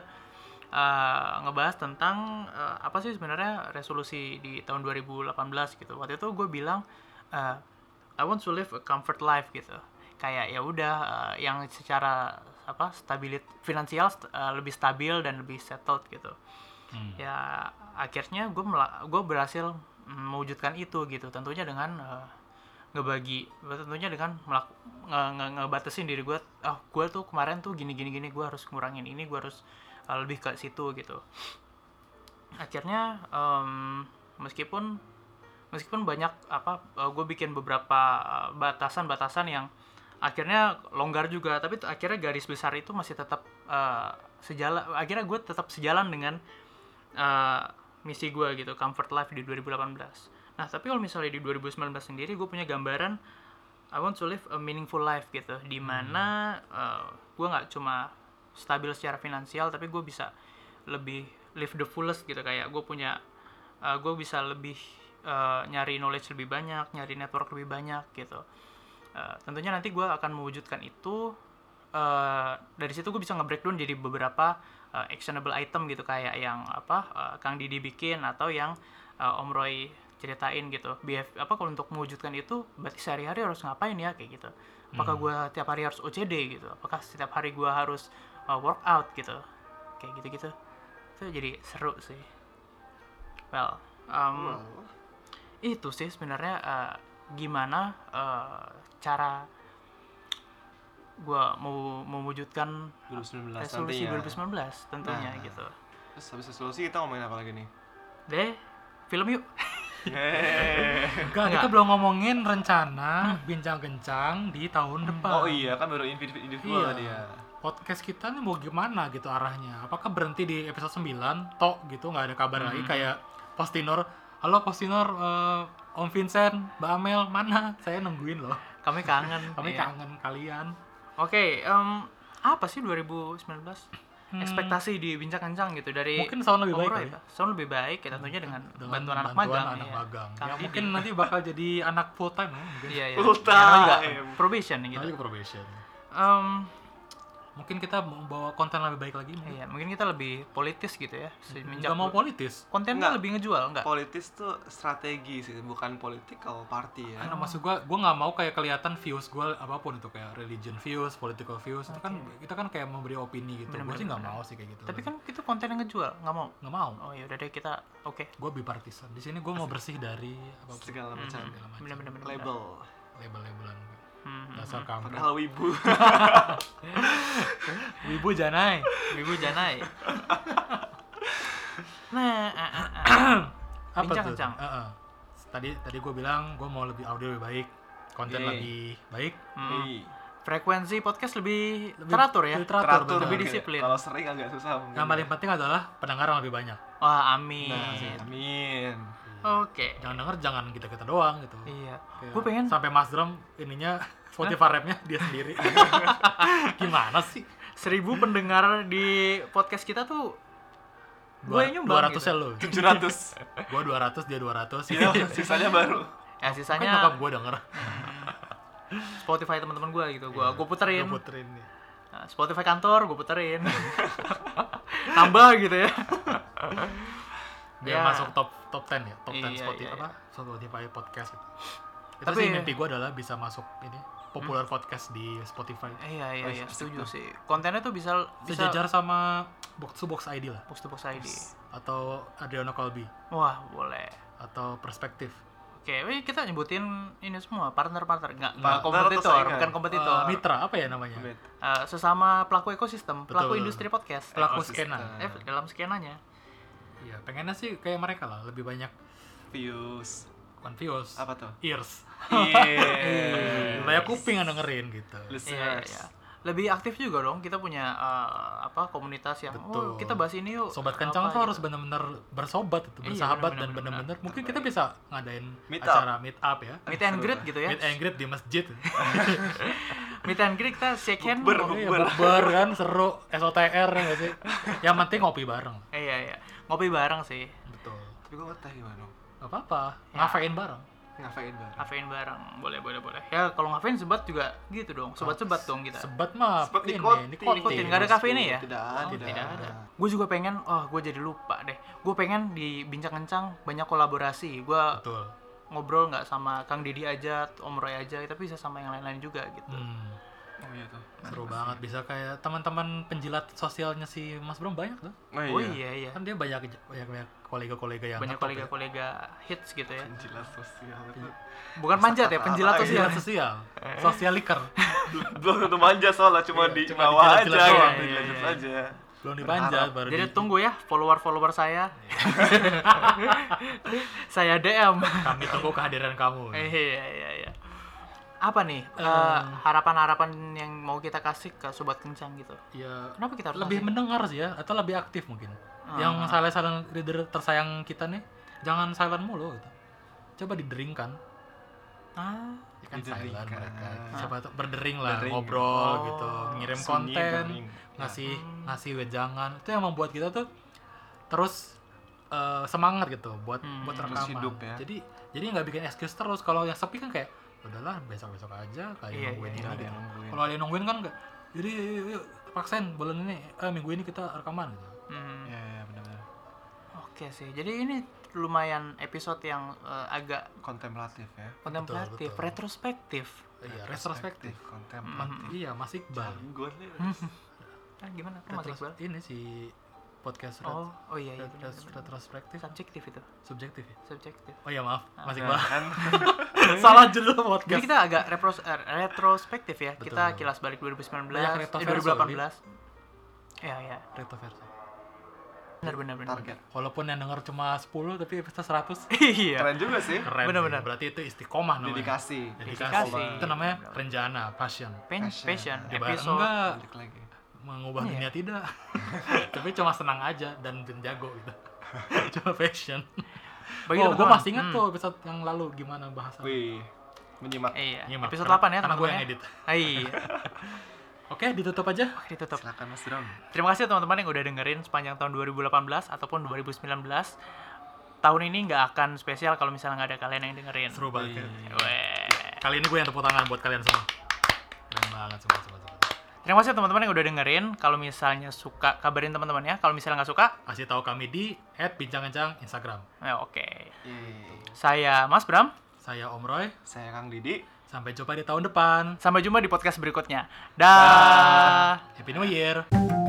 [SPEAKER 2] eh, ngebahas tentang eh, apa sih sebenarnya resolusi di tahun 2018 gitu waktu itu gue bilang eh, I want to live a comfort life gitu kayak ya udah eh, yang secara apa stabilit finansial st- eh, lebih stabil dan lebih settled gitu
[SPEAKER 1] Hmm.
[SPEAKER 2] ya akhirnya gue gue berhasil mm, mewujudkan itu gitu tentunya dengan eh, ngebagi tentunya dengan melaku, nge- nge- ngebatasin diri gue ah gue tuh kemarin tuh gini gini gini gue harus ngurangin ini gue harus eh, lebih ke situ gitu akhirnya em, meskipun meskipun banyak apa gue bikin beberapa eh, batasan-batasan yang akhirnya longgar juga tapi t- akhirnya garis besar itu masih tetap eh, sejalan akhirnya gue tetap sejalan dengan eh, misi gue gitu comfort life di 2018 nah tapi kalau misalnya di 2019 sendiri gue punya gambaran I want to live a meaningful life gitu dimana gue nggak cuma stabil secara finansial tapi gue bisa lebih live the fullest gitu kayak gue punya gue bisa lebih eh, nyari knowledge lebih banyak nyari network lebih banyak gitu Eh, tentunya nanti gue akan mewujudkan itu eh, dari situ gue bisa nge-breakdown jadi beberapa eh, actionable item gitu kayak yang apa eh, Kang Didi bikin atau yang eh, Om Roy ceritain gitu Behave- apa kalau untuk mewujudkan itu berarti sehari-hari harus ngapain ya kayak gitu apakah gue tiap hari harus OCD gitu apakah setiap hari gue harus eh, workout gitu kayak gitu-gitu itu jadi seru sih well um,
[SPEAKER 3] Wow.
[SPEAKER 2] itu sih sebenarnya eh, gimana eh, cara gua mau mewujudkan
[SPEAKER 3] 2019
[SPEAKER 2] resolusi
[SPEAKER 1] ya.
[SPEAKER 3] nantinya.
[SPEAKER 2] 2019 tentunya
[SPEAKER 3] Nah.
[SPEAKER 2] gitu.
[SPEAKER 3] Terus ya. habis resolusi kita ngomongin apa lagi nih?
[SPEAKER 2] Deh, film yuk.
[SPEAKER 3] Yeay.
[SPEAKER 1] Eh, Enggak, kita
[SPEAKER 2] Enggak.
[SPEAKER 1] belum ngomongin rencana bincang kencang di tahun depan.
[SPEAKER 3] Oh iya kan baru invite
[SPEAKER 1] Iya.
[SPEAKER 3] individual tadi ya.
[SPEAKER 1] Podcast kita nih mau gimana gitu arahnya? Apakah berhenti di episode 9 tok gitu nggak ada kabar
[SPEAKER 2] Hmm.
[SPEAKER 1] lagi kayak Postinor, halo Postinor, eh, Om Vincent, Mbak Amel, mana? [laughs] Saya nungguin loh.
[SPEAKER 2] Kami kangen.
[SPEAKER 1] [laughs] Kami
[SPEAKER 2] iya.
[SPEAKER 1] kangen kalian.
[SPEAKER 2] Oke, em, apa sih 2019?
[SPEAKER 1] Hmm.
[SPEAKER 2] Ekspektasi di bincang kencang gitu dari
[SPEAKER 1] Mungkin sound lebih
[SPEAKER 2] Om
[SPEAKER 1] baik
[SPEAKER 2] Roy,
[SPEAKER 1] kali ya?
[SPEAKER 2] Pak. Sound lebih baik ya tentunya dengan,
[SPEAKER 1] Dengan
[SPEAKER 2] bantuan anak magang.
[SPEAKER 1] anak
[SPEAKER 2] iya.
[SPEAKER 1] magang.
[SPEAKER 2] Kang
[SPEAKER 1] Ya,
[SPEAKER 2] Didi.
[SPEAKER 1] mungkin nanti bakal jadi anak full time ya, mungkin.
[SPEAKER 2] Iya, iya.
[SPEAKER 3] Full
[SPEAKER 2] Ya, namanya
[SPEAKER 3] time.
[SPEAKER 2] juga probation gitu.
[SPEAKER 1] Nanti ke probation.
[SPEAKER 2] Em,
[SPEAKER 1] Mungkin kita mau bawa konten lebih baik lagi. Mungkin.
[SPEAKER 2] Iya, mungkin kita lebih politis gitu ya. Semenjak
[SPEAKER 1] Nggak mau politis.
[SPEAKER 2] kontennya
[SPEAKER 3] Nggak.
[SPEAKER 2] lebih ngejual enggak?
[SPEAKER 3] Politis tuh strategi sih, bukan political party ya.
[SPEAKER 1] Karena maksud gue, gue nggak mau kayak kelihatan views gue apapun itu kayak religion views, political views itu kan kita kan kayak memberi opini gitu. Gue
[SPEAKER 2] Bener-bener,
[SPEAKER 1] sih nggak
[SPEAKER 2] bener.
[SPEAKER 1] mau sih kayak gitu.
[SPEAKER 2] Tapi kan itu konten yang ngejual, nggak mau.
[SPEAKER 1] nggak mau.
[SPEAKER 2] Oh ya udah deh kita oke.
[SPEAKER 1] Gue bipartisan. Di sini gue mau bersih dari apapun
[SPEAKER 3] Segala macam
[SPEAKER 2] Mhm.
[SPEAKER 1] macam.
[SPEAKER 2] Bener bener bener.
[SPEAKER 3] label.
[SPEAKER 1] label-labelan gue.
[SPEAKER 2] Hmm, hmm,
[SPEAKER 1] Dasar
[SPEAKER 2] hmm.
[SPEAKER 1] kampret.
[SPEAKER 3] Padahal wibu.
[SPEAKER 1] Wibu janai.
[SPEAKER 2] Wibu Janai.
[SPEAKER 1] [laughs]
[SPEAKER 2] nah, ah, ah, ah.
[SPEAKER 1] Apa
[SPEAKER 2] Kencang,
[SPEAKER 1] tuh?
[SPEAKER 2] kencang.
[SPEAKER 1] Heeh. Tadi tadi gue bilang gue mau lebih audio lebih baik, konten
[SPEAKER 3] Yeay.
[SPEAKER 1] lebih baik,
[SPEAKER 2] Hmm,
[SPEAKER 3] Hey,
[SPEAKER 2] frekuensi podcast lebih,
[SPEAKER 1] lebih
[SPEAKER 2] teratur ya.
[SPEAKER 1] teratur,
[SPEAKER 3] teratur
[SPEAKER 1] bener.
[SPEAKER 2] lebih
[SPEAKER 3] mungkin.
[SPEAKER 2] disiplin.
[SPEAKER 3] Kalau sering agak susah mungkin.
[SPEAKER 1] Yang paling penting adalah pendengar yang lebih banyak.
[SPEAKER 2] Wah, amin.
[SPEAKER 3] Nah, amin.
[SPEAKER 2] Oke.
[SPEAKER 1] Jangan denger jangan kita kita doang gitu.
[SPEAKER 2] Iya.
[SPEAKER 1] Kayak
[SPEAKER 2] Gue pengen [laughs]
[SPEAKER 1] sampai Mas Drum ininya Spotify rap-nya dia sendiri. Gimana sih?
[SPEAKER 2] seribu pendengar di podcast kita tuh gue
[SPEAKER 1] Dua,
[SPEAKER 2] nyumbang
[SPEAKER 1] dua ratus
[SPEAKER 2] gitu.
[SPEAKER 1] ya lu
[SPEAKER 3] 700
[SPEAKER 1] gue dua ratus dia dua ratus
[SPEAKER 3] Iya, sisanya baru
[SPEAKER 1] [laughs]
[SPEAKER 2] ya
[SPEAKER 1] kan
[SPEAKER 2] sisanya
[SPEAKER 1] nyokap gue denger
[SPEAKER 2] Spotify teman-teman gue gitu gue gue puterin
[SPEAKER 1] Iya. Gua puterin nih
[SPEAKER 2] Nah, Spotify kantor gue puterin [laughs] tambah gitu ya
[SPEAKER 1] biar
[SPEAKER 2] Ya.
[SPEAKER 1] masuk top top 10 ya top 10
[SPEAKER 2] Iya,
[SPEAKER 1] Spotify
[SPEAKER 2] iya,
[SPEAKER 1] apa Spotify podcast gitu. itu
[SPEAKER 2] Tapi-
[SPEAKER 1] sih mimpi gue adalah bisa masuk ini
[SPEAKER 2] Hmm.
[SPEAKER 1] populer podcast di Spotify
[SPEAKER 2] iya iya
[SPEAKER 3] Oh,
[SPEAKER 2] iya
[SPEAKER 3] asik
[SPEAKER 2] setuju
[SPEAKER 3] tuh.
[SPEAKER 2] sih kontennya tuh bisa bisa
[SPEAKER 1] sejajar sama box to box ID lah
[SPEAKER 2] post to post ID
[SPEAKER 1] atau Adriano Colby
[SPEAKER 2] wah boleh
[SPEAKER 1] atau perspektif
[SPEAKER 2] oke wih, kita nyebutin ini semua partner partner nggak nggak
[SPEAKER 3] Partner atau
[SPEAKER 2] kompetitor
[SPEAKER 3] saingan?
[SPEAKER 2] bukan kompetitor
[SPEAKER 1] Eh, mitra apa ya namanya
[SPEAKER 2] Eh, sesama pelaku ekosistem
[SPEAKER 1] Betul,
[SPEAKER 2] pelaku
[SPEAKER 1] betul.
[SPEAKER 2] industri podcast
[SPEAKER 1] pelaku skena
[SPEAKER 3] ekosistem.
[SPEAKER 2] eh dalam skenanya
[SPEAKER 1] Iya, pengennya sih kayak mereka lah lebih banyak
[SPEAKER 3] views
[SPEAKER 1] bukan views
[SPEAKER 3] apa
[SPEAKER 2] [laughs]
[SPEAKER 3] tuh
[SPEAKER 1] ears lebih
[SPEAKER 3] iya
[SPEAKER 1] banyak kuping yang dengerin gitu
[SPEAKER 2] Iya, iya,
[SPEAKER 3] listeners
[SPEAKER 2] iya. Lebih aktif juga dong kita punya eh, apa komunitas yang oh
[SPEAKER 1] Betul.
[SPEAKER 2] kita bahas ini yuk.
[SPEAKER 1] sobat kencang
[SPEAKER 2] Apa
[SPEAKER 1] tuh
[SPEAKER 2] gitu.
[SPEAKER 1] harus benar-benar bersobat itu
[SPEAKER 2] Iya,
[SPEAKER 1] bersahabat dan
[SPEAKER 2] benar-benar,
[SPEAKER 1] benar-benar mungkin kita
[SPEAKER 3] Terbaik.
[SPEAKER 1] bisa ngadain
[SPEAKER 3] Meet up.
[SPEAKER 1] acara meet up ya
[SPEAKER 2] meet and
[SPEAKER 3] Seru
[SPEAKER 2] greet
[SPEAKER 3] lah.
[SPEAKER 2] gitu ya.
[SPEAKER 1] meet and greet di
[SPEAKER 2] [laughs]
[SPEAKER 1] masjid
[SPEAKER 2] Meet and greet kita shake hand.
[SPEAKER 3] Bukber,
[SPEAKER 2] ngopi-
[SPEAKER 1] Iya, bukber kan seru SOTR ya nggak sih yang penting ngopi bareng
[SPEAKER 2] Eh, Iya, iya. Ngopi bareng sih.
[SPEAKER 1] betul
[SPEAKER 3] tapi gue ngeteh gimana dong
[SPEAKER 1] gak apa-apa
[SPEAKER 2] Ya.
[SPEAKER 1] ngafein bareng
[SPEAKER 3] ngapain banget
[SPEAKER 2] Ngafein bareng. Boleh, boleh, boleh. Ya kalau ngafein sebat juga gitu dong. Sobat-sobat dong kita.
[SPEAKER 1] Ah, sebat mah
[SPEAKER 3] Sebat
[SPEAKER 1] ini
[SPEAKER 3] nikotin.
[SPEAKER 1] nikotin
[SPEAKER 2] Nggak ada kafeinnya ya?
[SPEAKER 3] tidak
[SPEAKER 2] Oh,
[SPEAKER 3] tidak,
[SPEAKER 2] tidak ada. Gue juga pengen, oh gue jadi lupa deh. Gue pengen di bincang kencang banyak kolaborasi. Gue
[SPEAKER 1] betul
[SPEAKER 2] ngobrol nggak sama Kang Didi aja, Om Roy aja, tapi bisa sama yang lain-lain juga gitu.
[SPEAKER 1] hmm,
[SPEAKER 3] oh iya tuh
[SPEAKER 1] seru banget bisa kayak teman-teman penjilat sosialnya si Mas Bram banyak tuh
[SPEAKER 2] Oh iya iya.
[SPEAKER 1] kan dia banyak banyak, banyak kolega-kolega yang
[SPEAKER 2] banyak
[SPEAKER 1] ngetop ya.
[SPEAKER 2] kolega-kolega hits gitu ya
[SPEAKER 3] penjilat sosial itu
[SPEAKER 2] bukan manjat ya
[SPEAKER 3] kata
[SPEAKER 2] penjilat
[SPEAKER 3] apa
[SPEAKER 2] tuh sih
[SPEAKER 1] penjilat sosial sosial liker
[SPEAKER 3] belum tentu manja soalnya cuma
[SPEAKER 1] Iya,
[SPEAKER 3] di
[SPEAKER 1] cuma
[SPEAKER 3] bawah aja
[SPEAKER 1] dijilat-jilat
[SPEAKER 2] doang.
[SPEAKER 3] gitu,
[SPEAKER 2] Iya, iya,
[SPEAKER 3] dijilat-jilat
[SPEAKER 2] iya.
[SPEAKER 3] aja
[SPEAKER 1] belum dipanjat baru
[SPEAKER 2] jadi
[SPEAKER 1] di-
[SPEAKER 2] tunggu ya follower-follower
[SPEAKER 1] [laughs]
[SPEAKER 2] saya saya DM
[SPEAKER 1] kami tunggu kehadiran [laughs] kamu
[SPEAKER 2] Eh, iya iya iya apa nih eh,
[SPEAKER 1] Eh.
[SPEAKER 2] harapan-harapan yang mau kita kasih ke sobat kencang gitu
[SPEAKER 1] ya
[SPEAKER 2] kenapa kita harus
[SPEAKER 1] lebih
[SPEAKER 2] kasih?
[SPEAKER 1] mendengar sih ya atau lebih aktif mungkin
[SPEAKER 2] Ah.
[SPEAKER 1] yang silent silent reader tersayang kita nih jangan silent mulu gitu coba dideringkan
[SPEAKER 2] ah,
[SPEAKER 1] ya kan silent
[SPEAKER 3] Dideringkan.
[SPEAKER 1] mereka
[SPEAKER 3] Ah.
[SPEAKER 1] coba tuh berdering lah
[SPEAKER 3] Dering.
[SPEAKER 1] ngobrol
[SPEAKER 2] Oh.
[SPEAKER 1] gitu ngirim
[SPEAKER 3] Sunyi, Nah,
[SPEAKER 1] konten
[SPEAKER 3] bering.
[SPEAKER 1] ngasih
[SPEAKER 2] Hmm.
[SPEAKER 1] ngasih wejangan itu yang membuat kita tuh terus eh, semangat gitu buat
[SPEAKER 2] Hmm.
[SPEAKER 1] buat
[SPEAKER 2] Terus
[SPEAKER 1] rekaman
[SPEAKER 3] hidup ya.
[SPEAKER 1] jadi jadi nggak bikin excuse terus kalau yang sepi kan kayak udahlah besok besok aja kali
[SPEAKER 2] Iya,
[SPEAKER 1] nungguin
[SPEAKER 2] iya,
[SPEAKER 1] ini
[SPEAKER 3] Nggak ada
[SPEAKER 1] gitu
[SPEAKER 3] yang nungguin.
[SPEAKER 1] kalau ada yang nungguin kan nggak jadi yuk, yuk, paksain bulan ini eh, minggu ini kita rekaman gitu
[SPEAKER 2] hmm,
[SPEAKER 3] Iya, iya, benar-benar.
[SPEAKER 2] oke sih jadi ini lumayan episode yang eh, agak
[SPEAKER 3] kontemplatif ya
[SPEAKER 2] kontemplatif
[SPEAKER 1] betul.
[SPEAKER 2] retrospektif
[SPEAKER 1] iya retrospektif
[SPEAKER 2] Hmm,
[SPEAKER 3] kontemplatif
[SPEAKER 1] Man- iya Mas Iqbal
[SPEAKER 3] gue nih
[SPEAKER 2] ah, gimana Kok Mas
[SPEAKER 1] Retros-
[SPEAKER 2] Iqbal?
[SPEAKER 1] ini si podcast ret-
[SPEAKER 2] oh oh iya iya
[SPEAKER 1] ret-
[SPEAKER 2] benar,
[SPEAKER 1] ret-
[SPEAKER 2] benar.
[SPEAKER 1] retrospektif
[SPEAKER 2] subjektif itu
[SPEAKER 1] subjektif ya
[SPEAKER 2] subjektif
[SPEAKER 1] oh iya maaf Mas
[SPEAKER 3] nah,
[SPEAKER 1] Iqbal
[SPEAKER 2] [laughs]
[SPEAKER 3] kan
[SPEAKER 1] salah judul
[SPEAKER 2] Ah. Jadi
[SPEAKER 1] podcast
[SPEAKER 2] kita agak repros- eh, retrospektif ya.
[SPEAKER 1] Betul.
[SPEAKER 2] Kita kilas balik 2019,
[SPEAKER 1] Banyak
[SPEAKER 2] eh,
[SPEAKER 1] retroversi,
[SPEAKER 2] 2018. Iya, iya.
[SPEAKER 1] retroversi
[SPEAKER 2] Benar benar benar.
[SPEAKER 3] target [laughs]
[SPEAKER 1] walaupun yang denger cuma 10 tapi episode 100
[SPEAKER 2] [laughs] Iya.
[SPEAKER 3] keren juga sih
[SPEAKER 1] keren
[SPEAKER 2] Benar-benar.
[SPEAKER 1] sih. berarti itu istiqomah namanya
[SPEAKER 3] dedikasi
[SPEAKER 1] dedikasi,
[SPEAKER 2] Dedikasi.
[SPEAKER 1] itu namanya renjana passion
[SPEAKER 2] Pen-
[SPEAKER 3] Passion.
[SPEAKER 2] passion
[SPEAKER 1] ya bareng
[SPEAKER 2] episode.
[SPEAKER 1] enggak
[SPEAKER 3] balik lagi
[SPEAKER 1] mengubah
[SPEAKER 2] Iya.
[SPEAKER 1] dunia tidak [laughs] tapi cuma senang aja dan dan jago gitu [laughs] cuma passion
[SPEAKER 2] Bagi
[SPEAKER 1] oh gue
[SPEAKER 2] teman-teman,
[SPEAKER 1] masih ingat
[SPEAKER 2] hmm,
[SPEAKER 1] tuh episode yang lalu gimana bahasan
[SPEAKER 3] wih menyimak
[SPEAKER 2] Iya.
[SPEAKER 1] Nyimak.
[SPEAKER 2] Episode
[SPEAKER 1] Karena-
[SPEAKER 2] 8 ya,
[SPEAKER 1] karena gue yang edit
[SPEAKER 2] teman-teman. ya. Iya.
[SPEAKER 1] oke ditutup aja
[SPEAKER 2] Oke, ditutup.
[SPEAKER 3] silakan mas Dram
[SPEAKER 2] Terima kasih ya teman-teman yang udah dengerin sepanjang tahun 2018 ataupun 2019. Tahun ini nggak akan spesial kalau misalnya nggak ada kalian yang dengerin.
[SPEAKER 1] seru banget
[SPEAKER 3] Wih.
[SPEAKER 2] Weh.
[SPEAKER 1] kali ini gue yang tepuk tangan buat kalian semua keren banget semua semua semua
[SPEAKER 2] Terima kasih ya teman-teman yang udah dengerin. Kalau misalnya suka, kabarin teman-teman ya. Kalau misalnya nggak suka,
[SPEAKER 1] kasih tahu kami di @bincang-bincang Instagram
[SPEAKER 2] ya oke.
[SPEAKER 3] Yeay.
[SPEAKER 2] Saya Mas Bram.
[SPEAKER 1] saya Om Roy
[SPEAKER 3] saya Kang Didi
[SPEAKER 1] sampai jumpa di tahun depan
[SPEAKER 2] Sampai jumpa di podcast berikutnya. Dah.
[SPEAKER 1] Happy New Year